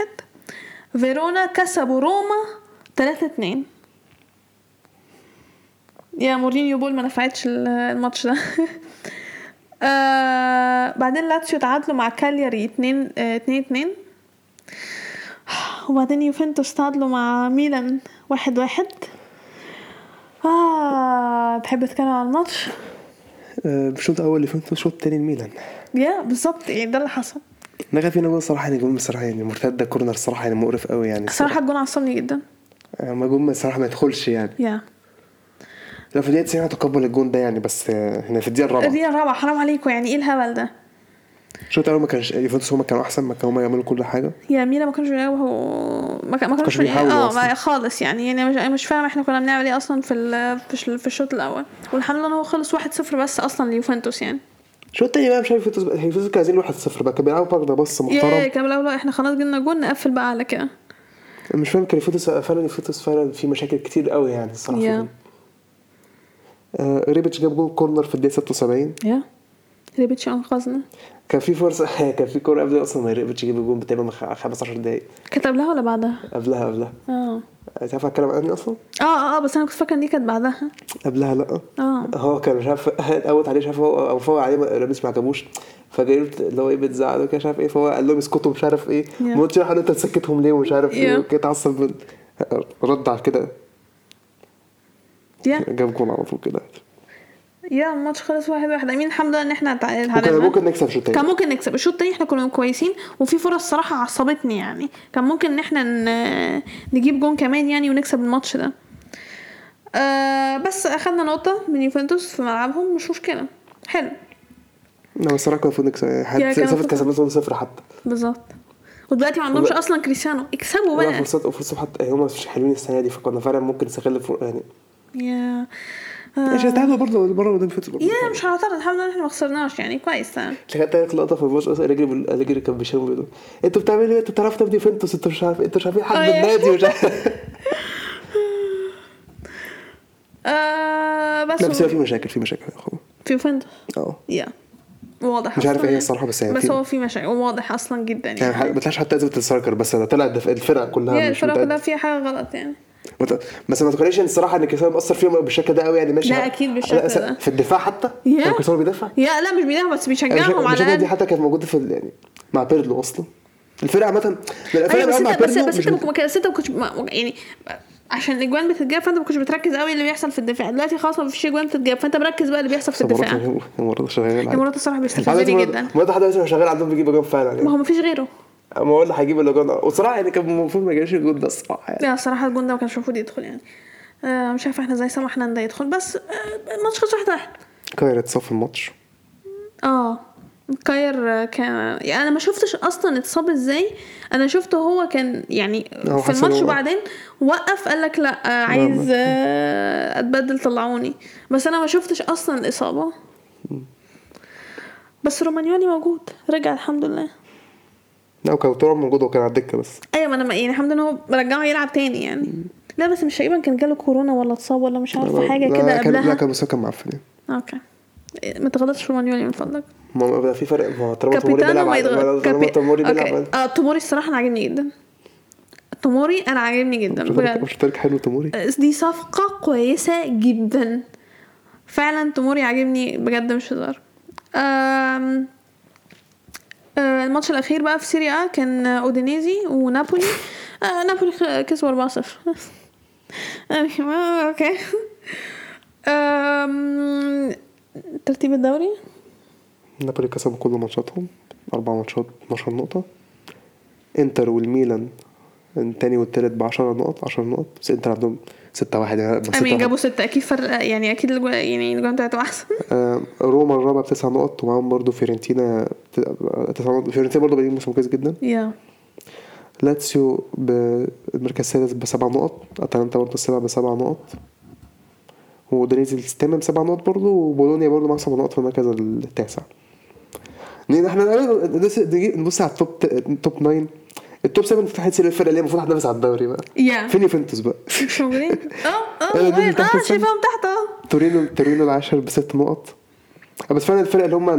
Speaker 1: فيرونا كسبوا روما 3 2 يا مورينيو بول ما نفعتش ال- الماتش ده آه بعدين لاتسيو تعادلوا مع كالياري 2 2 2 وبعدين يوفنتوس تعادلوا مع ميلان 1 1 اه تحب تتكلم عن الماتش
Speaker 2: آه، الشوط الاول لفينتوس الشوط الثاني الميلان
Speaker 1: يا بالظبط يعني ده اللي حصل
Speaker 2: نغى فينا جول صراحة يعني جول صراحة يعني مرتدة كورنر صراحة يعني مقرف قوي يعني
Speaker 1: صراحه الجون عصبني جدا
Speaker 2: آه، ما جول صراحة ما يدخلش يعني
Speaker 1: يا
Speaker 2: لو في الدقيقة 90 هتقبل الجون ده يعني بس آه، هنا في الدقيقة الرابعة
Speaker 1: الدقيقه الرابعه حرام عليكم يعني ايه الهبل ده
Speaker 2: الشوط الاول ما كانش يوفنتوس هم كانوا احسن ما كانوا هم يعملوا كل حاجة
Speaker 1: يا ميرا ما كانوش بيلعبوا ما كان- ما كانوش
Speaker 2: بيحاولوا
Speaker 1: اه
Speaker 2: أصلاً.
Speaker 1: ما- خالص يعني يعني مش مش فاهم احنا كنا بنعمل ايه اصلا في ال- في ال- في الشوط الاول والحمد لله إن هو خلص 1-0 بس اصلا ليوفنتوس يعني
Speaker 2: الشوط الثاني بقى مش عارف يوفنتوس بقى- يوفنتوس كانوا عايزين 1-0 بقى كانوا بيلعبوا برضه بص
Speaker 1: ياه
Speaker 2: محترم
Speaker 1: كان الاول احنا خلاص جبنا جون نقفل بقى على كده
Speaker 2: مش فاهم كان يوفنتوس فعلا يوفنتوس فعلا في مشاكل كتير قوي يعني الصراحة في
Speaker 1: يا.
Speaker 2: الجول. آه، ريبيتش جاب جول كورنر في الدقيقة 76
Speaker 1: يا ريبيتش انقذنا
Speaker 2: كان في فرصة كان في كورة قبل اصلا ما ريبيتش يجيب الجول تقريبا 15 دقايق
Speaker 1: كانت قبلها ولا بعدها؟
Speaker 2: قبلها قبلها
Speaker 1: اه
Speaker 2: تعرف اتكلم عني اصلا؟
Speaker 1: اه اه, آه بس انا كنت فاكره ان دي كانت بعدها
Speaker 2: قبلها لا
Speaker 1: اه
Speaker 2: هو كان مش عارف قوت عليه مش عارف هو او فوق عليه راميس ما عجبوش فجايبت اللي هو ايه بتزعله كده مش عارف ايه فهو قال لهم اسكتوا مش عارف ايه
Speaker 1: Yeah.
Speaker 2: ما قلتش لحد انت تسكتهم ليه ومش عارف ايه
Speaker 1: Yeah.
Speaker 2: وكده اتعصب من- رد على كده
Speaker 1: يا
Speaker 2: جاب جول على طول كده
Speaker 1: يا الماتش خلص واحد واحد امين الحمد لله ان احنا تع-
Speaker 2: وكان
Speaker 1: اتعادلنا
Speaker 2: ممكن نكسب شوط تاني
Speaker 1: كان ممكن نكسب الشوط التاني احنا كنا كويسين وفي فرص صراحة عصبتني يعني كان ممكن ان احنا ن- نجيب جون كمان يعني ونكسب الماتش ده آه بس اخدنا نقطه من يوفنتوس في ملعبهم مش مشكله حلو
Speaker 2: لو الصراحه كان المفروض نكسب حد-
Speaker 1: يعني كان
Speaker 2: صفر
Speaker 1: المفروض-
Speaker 2: كسبنا صفر حتى
Speaker 1: بالظبط ودلوقتي ما عندهمش
Speaker 2: وب-
Speaker 1: اصلا كريستيانو اكسبوا
Speaker 2: ولا
Speaker 1: بقى
Speaker 2: فرصات وفرصة حتى هم يعني مش حلوين السنه دي فكنا فعلا ممكن نستغل فر- يعني
Speaker 1: يا
Speaker 2: مش
Speaker 1: آه.
Speaker 2: هتعادلوا برضه المره اللي فاتت برضه
Speaker 1: يا مش هعترض الحمد لله احنا ما خسرناش يعني كويس تمام
Speaker 2: لقيت لك لقطه في الماتش اصلا رجلي بال- رجلي كان بيشاور بيقول له، انتوا بتعملوا ايه انتوا بتعرفوا تبني فينتوس انتوا مش عارف انتوا مش عارفين حجم
Speaker 1: آه، يا.
Speaker 2: النادي مش عارف
Speaker 1: آه بس
Speaker 2: لا بس هو في
Speaker 1: هو-
Speaker 2: مشاكل في مشاكل خلاص
Speaker 1: في يوفنتوس
Speaker 2: اه
Speaker 1: يا واضح
Speaker 2: مش عارف
Speaker 1: أصلاً
Speaker 2: إيه هي
Speaker 1: يعني.
Speaker 2: الصراحة، بس هي
Speaker 1: بس
Speaker 2: في-
Speaker 1: هو في مشاكل واضح اصلا جدا يعني,
Speaker 2: يعني ح- ما طلعش حتى ازمه السركر بس انا طلع الدف- الفرقه كلها
Speaker 1: يا
Speaker 2: مش
Speaker 1: الفرقه
Speaker 2: متأد-
Speaker 1: كلها فيها حاجه غلط يعني
Speaker 2: مت- بس ما تقوليش ان الصراحه ان كريستيانو مأثر فيهم بالشكل ده قوي يعني ماشي
Speaker 1: لا،
Speaker 2: ه-
Speaker 1: أكيد بالشكل
Speaker 2: لا، س-
Speaker 1: ده.
Speaker 2: في الدفاع حتى
Speaker 1: يا.
Speaker 2: لو كريستيانو بيدافع
Speaker 1: يا لا يعني مش بيدافع بس بيشجعهم على
Speaker 2: الشكل دي
Speaker 1: الاقل
Speaker 2: حتى كانت موجوده في ال- يعني مع بيرلو اصلا الفرقه عامه الفرقه
Speaker 1: ايوه بس
Speaker 2: بقى مع
Speaker 1: انت بس
Speaker 2: بيرلو
Speaker 1: بس
Speaker 2: مش
Speaker 1: انت ما كنت- بس انت ما كنتش ما- يعني عشان الاجوان بتتجاب فانت ما كنتش بتركز قوي اللي بيحصل في الدفاع دلوقتي خلاص ما فيش اجوان بتتجاب فانت مركز بقى اللي بيحصل في الدفاع
Speaker 2: مرات- مرات شغال عادي.
Speaker 1: مرات الصراحه
Speaker 2: عادة
Speaker 1: بيستفزني
Speaker 2: مرات-
Speaker 1: جدا
Speaker 2: مرات حد بس شغال عندهم بيجيب اجوان فعلا يعني
Speaker 1: ما هو ما فيش غيره
Speaker 2: ما هو اللي هيجيب الاجوان وصراحه يعني كان المفروض ما يجيبش الجول ده الصراحه يعني
Speaker 1: لا الصراحه الجون ده ما كانش المفروض يدخل يعني آه مش عارفه احنا ازاي سمحنا ان ده يدخل بس آه، الماتش خلص واحد واحد
Speaker 2: كايرت صف الماتش
Speaker 1: اه كاير آه، كان يعني انا ما شفتش اصلا اتصاب ازاي انا شفته هو كان يعني
Speaker 2: هو
Speaker 1: في
Speaker 2: حسن
Speaker 1: الماتش
Speaker 2: هو-
Speaker 1: وبعدين وقف قال لك لا آه، عايز آه، اتبدل طلعوني بس انا ما شفتش اصلا الاصابه بس رومانيولي موجود رجع الحمد لله
Speaker 2: لا وكوتر موجود وكان على الدكه بس
Speaker 1: ايوه ما انا يعني الحمد لله إن هو رجعه يلعب تاني يعني لا بس مش تقريبا كان جاله كورونا ولا اتصاب ولا مش عارفه حاجه
Speaker 2: لا،
Speaker 1: كده
Speaker 2: كان- لا
Speaker 1: قبلها
Speaker 2: كان بس هو كان معفن يعني.
Speaker 1: اوكي ما تغلطش رومانيولي من فضلك
Speaker 2: ما هو بقى في فرق ما هو طالما تموري
Speaker 1: كابيتانو
Speaker 2: بيلعب
Speaker 1: ما
Speaker 2: على- ما
Speaker 1: يتغلط
Speaker 2: طالما تموري بيلعب على-
Speaker 1: اه توموري الصراحه انا عاجبني جدا توموري انا عاجبني جدا
Speaker 2: مش ترك-
Speaker 1: بجد
Speaker 2: مش ترك حلو تموري
Speaker 1: دي صفقه كويسه جدا فعلا توموري عاجبني بجد مش هزار آم، آه، الماتش الاخير بقى في سيريا كان اودينيزي ونابولي آه، نابولي خ- كسبوا 4-0 يعني ما- اوكي آم، ترتيب الدوري
Speaker 2: نابولي كسبوا كل ماتشاتهم أربع ماتشات 12 نقطة انتر والميلان التاني والتالت ب 10 نقط 10 نقط بس انتر عندهم 6 1 يعني بس
Speaker 1: امين
Speaker 2: ستة
Speaker 1: جابوا ستة اكيد فرق يعني اكيد الجو... يعني الجوان بتاعته احسن
Speaker 2: آه، روما الرابع بتسع نقط ومعاهم برضه فيورنتينا بت- آه، تسع نقط فيورنتينا برضه بادئين موسم كويس جدا
Speaker 1: يا
Speaker 2: لاتسيو بالمركز السادس بسبع نقط اتلانتا برضه السابع بسبع نقط ودنيزي الثامن بسبع نقط برضه وبولونيا برضه معاها سبع نقط في المركز التاسع لان احنا الآن ندس- نجي- نبص على التوب ت- توب 9 التوب 7 فتحت سير الفرقه اللي هي المفروض هتنافس على الدوري بقى
Speaker 1: يا
Speaker 2: فين يوفنتوس بقى؟
Speaker 1: مش موجودين اه اه
Speaker 2: أنا آه، دول
Speaker 1: وين؟
Speaker 2: اللي تحت
Speaker 1: اه
Speaker 2: السن.
Speaker 1: شايفاهم تحت اه
Speaker 2: تورينو تورينو العاشر بست نقط بس فعلا الفرق اللي هم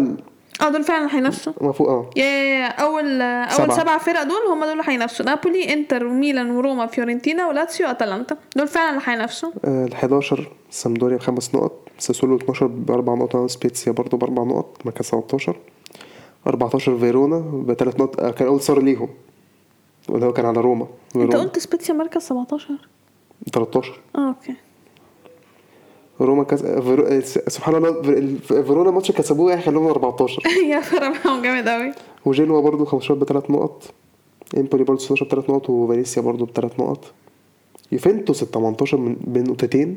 Speaker 1: اه دول فعلا هينافسوا
Speaker 2: المفروض اه
Speaker 1: يا يا يا اول اول
Speaker 2: سبعة.
Speaker 1: سبعة, سبعة فرق دول هم دول اللي هينافسوا نابولي انتر وميلان وروما فيورنتينا ولاتسيو واتلانتا دول فعلا اللي هينافسوا
Speaker 2: ال 11 آه، سامدوريا بخمس نقط ساسولو 12 بأربع نقط سبيتسيا برضه بأربع نقط مركز 17 14 فيرونا بثلاث نقط آه، كان أول صار ليهم واللي هو كان على روما
Speaker 1: انت
Speaker 2: فيرونا
Speaker 1: قلت سبيتسيا مركز 17
Speaker 2: 13
Speaker 1: اه اوكي
Speaker 2: روما كس... آه، فيرو... آه، س- سبحان الله فير- الف- فيرونا ماتش كسبوه يعني خلوهم 14
Speaker 1: يا فرق معاهم جامد قوي
Speaker 2: وجينوا برضه 15 بثلاث نقط امبولي برضه 16 بثلاث نقط وفالنسيا برضه بثلاث نقط يوفنتوس ال 18 من بنقطتين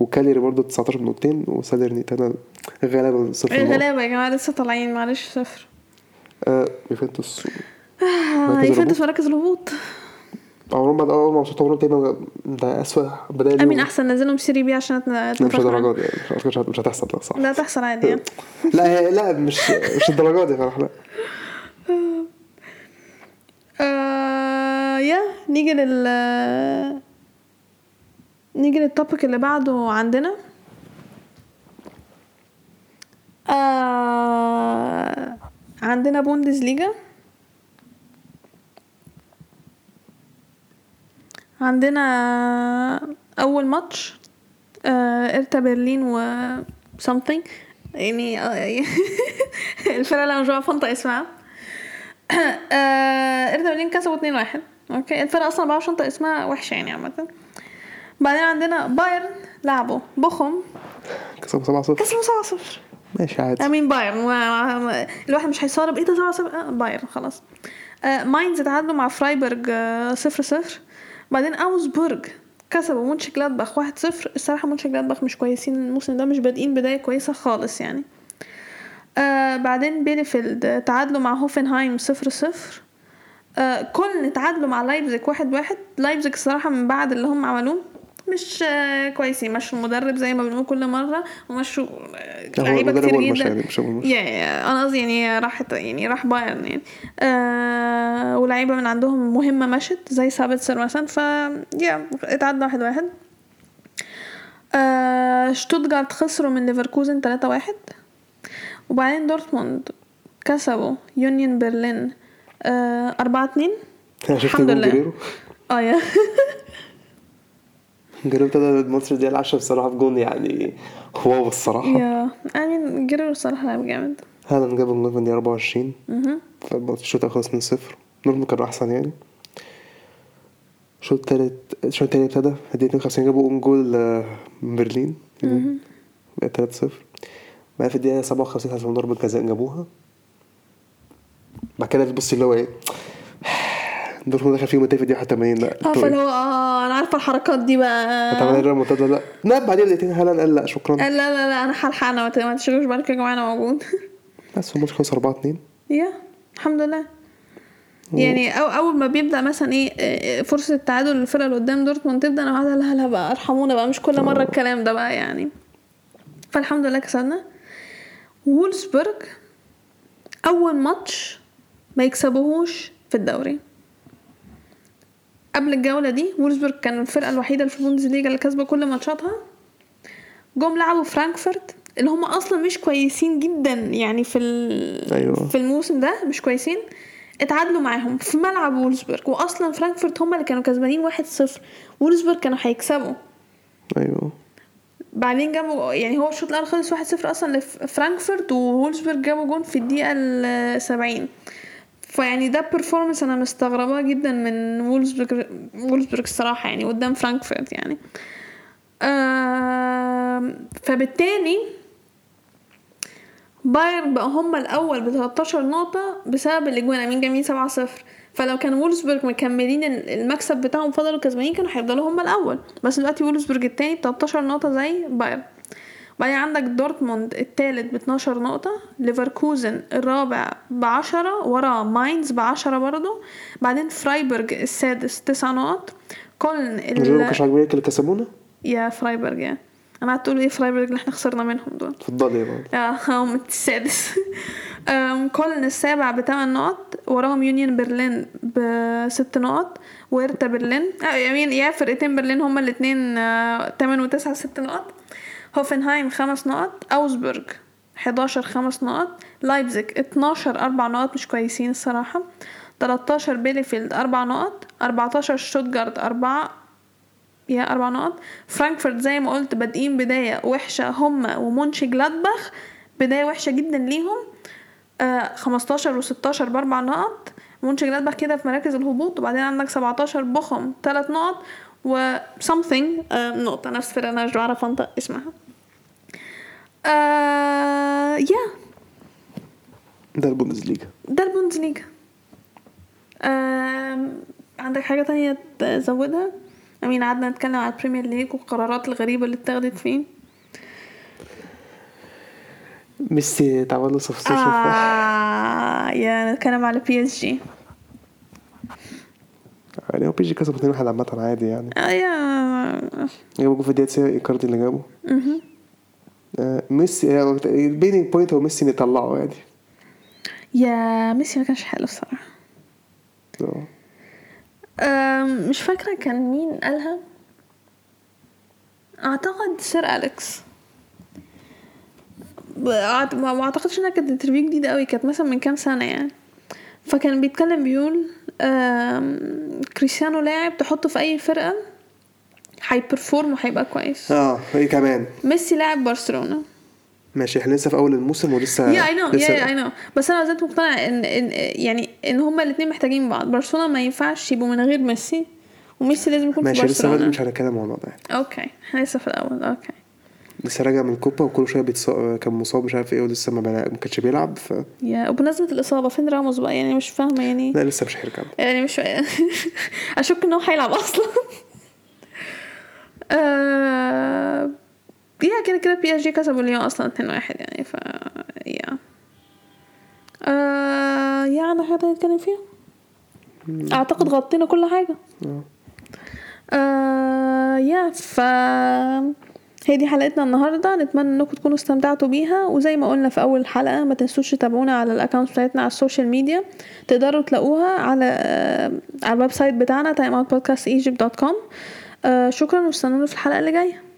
Speaker 2: وكاليري برضه 19 بنقطتين وسالرنيتانا غالبا صفر نقط.
Speaker 1: الغلابه يا جماعه لسه طالعين معلش صفر
Speaker 2: آه، يوفنتوس
Speaker 1: آه،
Speaker 2: مركز
Speaker 1: يوفنتوس مراكز الهبوط
Speaker 2: عمرهم بعد اول ماتشات عمرهم تقريبا ده اسوء بدايه ليهم.
Speaker 1: امين احسن نزلهم سيري بي عشان
Speaker 2: لا، مش
Speaker 1: نتنفخ
Speaker 2: الدرجات دي يعني. مش- مش مش هتحصل لا صح
Speaker 1: لا تحصل عادي يعني
Speaker 2: لا هي- لا مش مش الدرجات دي فرح لا
Speaker 1: آه يا نيجي لل نيجي للتوبيك اللي بعده عندنا آه عندنا بوندز ليجا عندنا اول ماتش آه ارتا برلين و something يعني آه، الفرقه اللي انا مش بعرف انطق اسمها آه، ارتا برلين كسبوا 2-1 اوكي الفرقه اصلا ما بعرفش انطق اسمها وحشه يعني عامه بعدين عندنا بايرن لعبوا بوخم
Speaker 2: كسبوا 7 0
Speaker 1: كسبوا 7-0
Speaker 2: ماشي عادي
Speaker 1: امين بايرن ما- ما- الواحد مش هيصارب ايه ده 7-0 آه، بايرن خلاص آه، ماينز اتعادلوا مع فرايبرج 0-0 بعدين اوزبورج كسبوا مونش جلادباخ 1-0 الصراحه مونش جلادباخ مش كويسين الموسم ده مش بادئين بدايه كويسه خالص يعني آه بعدين بيليفيلد تعادلوا مع هوفنهايم 0-0 آه كل تعادلوا مع لايبزيج 1-1 لايبزيج الصراحه من بعد اللي هم عملوه مش آه كويسين مشوا المدرب زي ما بنقول كل مره ومشوا آه،
Speaker 2: هو
Speaker 1: لعيبه
Speaker 2: المدرب
Speaker 1: كتير
Speaker 2: هو المشي
Speaker 1: جدا
Speaker 2: يعني مش هو المشي.
Speaker 1: يا يا انا قصدي يعني راحت يعني راح بايرن يعني آه ولاعيبه من عندهم مهمه مشت زي سابتسر مثلا ف يا اتعدى واحد واحد آه شتوتجارت خسروا من ليفركوزن 3 واحد وبعدين دورتموند كسبوا يونيون برلين آه 4 2
Speaker 2: أنا شفت
Speaker 1: الحمد
Speaker 2: جون
Speaker 1: لله.
Speaker 2: جريرو
Speaker 1: اه يا
Speaker 2: جريرو ابتدى الماتش دي 10 بصراحه بجون يعني واو الصراحه
Speaker 1: يا امين جريرو الصراحه لعب جامد
Speaker 2: هالاند جاب الجون في الدقيقه 24
Speaker 1: مهم.
Speaker 2: فالماتش الشوط خلص 2 0 نورتموند كان احسن يعني الشوط التالت الشوط التاني ابتدى الدقيقة 52 جابوا اون جول آه، من برلين بقت 3 0 بقى في الدقيقة 57 حسبوا ضربة جزاء جابوها بعد كده بتبص اللي هو ايه دورتموند دخل فيهم التاني في الدقيقة 81 لا آه،
Speaker 1: اه
Speaker 2: طيب.
Speaker 1: فاللي هو اه انا عارفه الحركات دي بقى
Speaker 2: طب انا المنتدى لا لا بعدين بدقيقتين هالاند قال لا شكرا
Speaker 1: لا لا لا انا حلحانه ما ت- ما تشغلوش بالك يا جماعه انا موجود
Speaker 2: بس الماتش خلص 4 2
Speaker 1: يا الحمد لله يعني أو اول ما بيبدا مثلا ايه آه، فرصه التعادل للفرقه اللي قدام دورتموند تبدا انا قاعده لا لا بقى ارحمونا بقى مش كل مره الكلام ده بقى يعني فالحمد لله كسبنا وولسبرج اول ماتش ما يكسبوهوش في الدوري قبل الجوله دي وولسبرج كان الفرقه الوحيده اللي في البوندسليجا اللي كسبه كل ماتشاتها جم لعبوا فرانكفورت اللي هم اصلا مش كويسين جدا يعني في ال...
Speaker 2: أيوة.
Speaker 1: في الموسم ده مش كويسين اتعادلوا معاهم في ملعب وولسبرج واصلا فرانكفورت هم اللي كانوا كسبانين 1-0 وولسبرج كانوا هيكسبوا
Speaker 2: ايوه
Speaker 1: بعدين جابوا يعني هو الشوط الاول خلص 1-0 اصلا لفرانكفورت وولسبرج جابوا جون في الدقيقه ال 70 فيعني ده بيرفورمانس انا مستغرباه جدا من وولسبرج وولسبرج الصراحه يعني قدام فرانكفورت يعني آم، فبالتالي بايرن بقى هم الاول ب 13 نقطه بسبب الاجوان مين جايبين 7 0 فلو كان وولسبرج مكملين ال- المكسب بتاعهم فضلوا كسبانين كانوا هيفضلوا هم الاول بس دلوقتي وولسبرج التاني ب 13 نقطه زي بايرن بعدين عندك دورتموند التالت ب 12 نقطة ليفركوزن الرابع ب 10 ورا ماينز ب 10 برضه بعدين فرايبرج السادس 9 نقط كولن ال-
Speaker 2: جريرو ما كانش عاجبني اللي كسبونا
Speaker 1: يا فرايبرج يا انا قاعد تقول ايه فرايبرج اللي احنا خسرنا منهم دول
Speaker 2: اتفضل يا بابا
Speaker 1: اه هم السادس أم، كولن السابع بثمان نقط وراهم يونيون برلين بست نقط ويرتا برلين اه يمين يا فرقتين برلين هما الاتنين آه، تمن وتسعة ست نقط هوفنهايم خمس نقط اوزبرج 11 خمس نقط لايبزيج 12 اربع نقط مش كويسين الصراحة 13 بيليفيلد اربع نقط 14 شوتجارد اربعة يا أربع نقط فرانكفورت زي ما قلت بادئين بداية وحشة هما ومونش جلادباخ بداية وحشة جدا ليهم آه 15 و16 بأربع نقط مونش جلادباخ كده في مراكز الهبوط وبعدين عندك 17 بخم ثلاث نقط و something آه نقطة نفس فرقة أنا مش بعرف أنطق اسمها آه يا
Speaker 2: ده البوندسليجا
Speaker 1: ده البوندسليجا آم، عندك حاجة تانية تزودها؟ أمين قعدنا نتكلم على البريمير ليج والقرارات الغريبة اللي اتخذت فيه
Speaker 2: ميسي تعمل له صفصوص
Speaker 1: آه يا نتكلم على بي اس جي
Speaker 2: يعني هو بيجي كسب 2 1 عامة عادي يعني
Speaker 1: آه يا
Speaker 2: جابوا جول في الدقيقة 90 ايكاردي اللي جابه آه، ميسي آه، البيننج بوينت هو ميسي اللي طلعه يعني
Speaker 1: يا ميسي ما كانش حلو الصراحة
Speaker 2: آه.
Speaker 1: آم، مش فاكرة كان مين قالها أعتقد سير أليكس بأعت- ما ما أعتقدش إنها كانت انترفيو جديدة أوي كانت مثلا من كام سنة يعني فكان بيتكلم بيقول آم، كريستيانو لاعب تحطه في أي فرقة هيبرفورم وهيبقى كويس
Speaker 2: اه ايه كمان
Speaker 1: ميسي لاعب برشلونة
Speaker 2: ماشي احنا لسه في اول الموسم ولسه
Speaker 1: يا اي نو
Speaker 2: آه، لسه-
Speaker 1: يا اي نو بس انا زلت مقتنعه ان ان يعني ان هما الاثنين محتاجين بعض برشلونه ما ينفعش يبقوا من غير ميسي وميسي لازم يكون في
Speaker 2: ماشي لسه بدري
Speaker 1: برشلونه
Speaker 2: مش هنتكلم الموضوع ده يعني.
Speaker 1: اوكي احنا لسه في الاول اوكي
Speaker 2: لسه راجع من الكوبا وكل شويه بيتصاب كان مصاب مش عارف ايه ولسه ما بنا- ما كانش بيلعب ف
Speaker 1: يا وبمناسبه الاصابه فين راموس بقى يعني مش فاهمه يعني
Speaker 2: لا لسه مش هيرجع
Speaker 1: يعني مش اشك ان هو هيلعب اصلا آه يا كده كده بي اس جي كسبوا اليوم اصلا 2 1 يعني ف يا آه يا عندنا حاجه تانية نتكلم فيها اعتقد غطينا كل حاجه
Speaker 2: آه.
Speaker 1: آه يا ف هي دي حلقتنا النهاردة نتمنى انكم تكونوا استمتعتوا بيها وزي ما قلنا في اول حلقة ما تنسوش تتابعونا على الاكونت بتاعتنا على السوشيال ميديا تقدروا تلاقوها على آه، على الويب سايت بتاعنا timeoutpodcastegypt.com آه شكرا واستنونا في الحلقة اللي جاية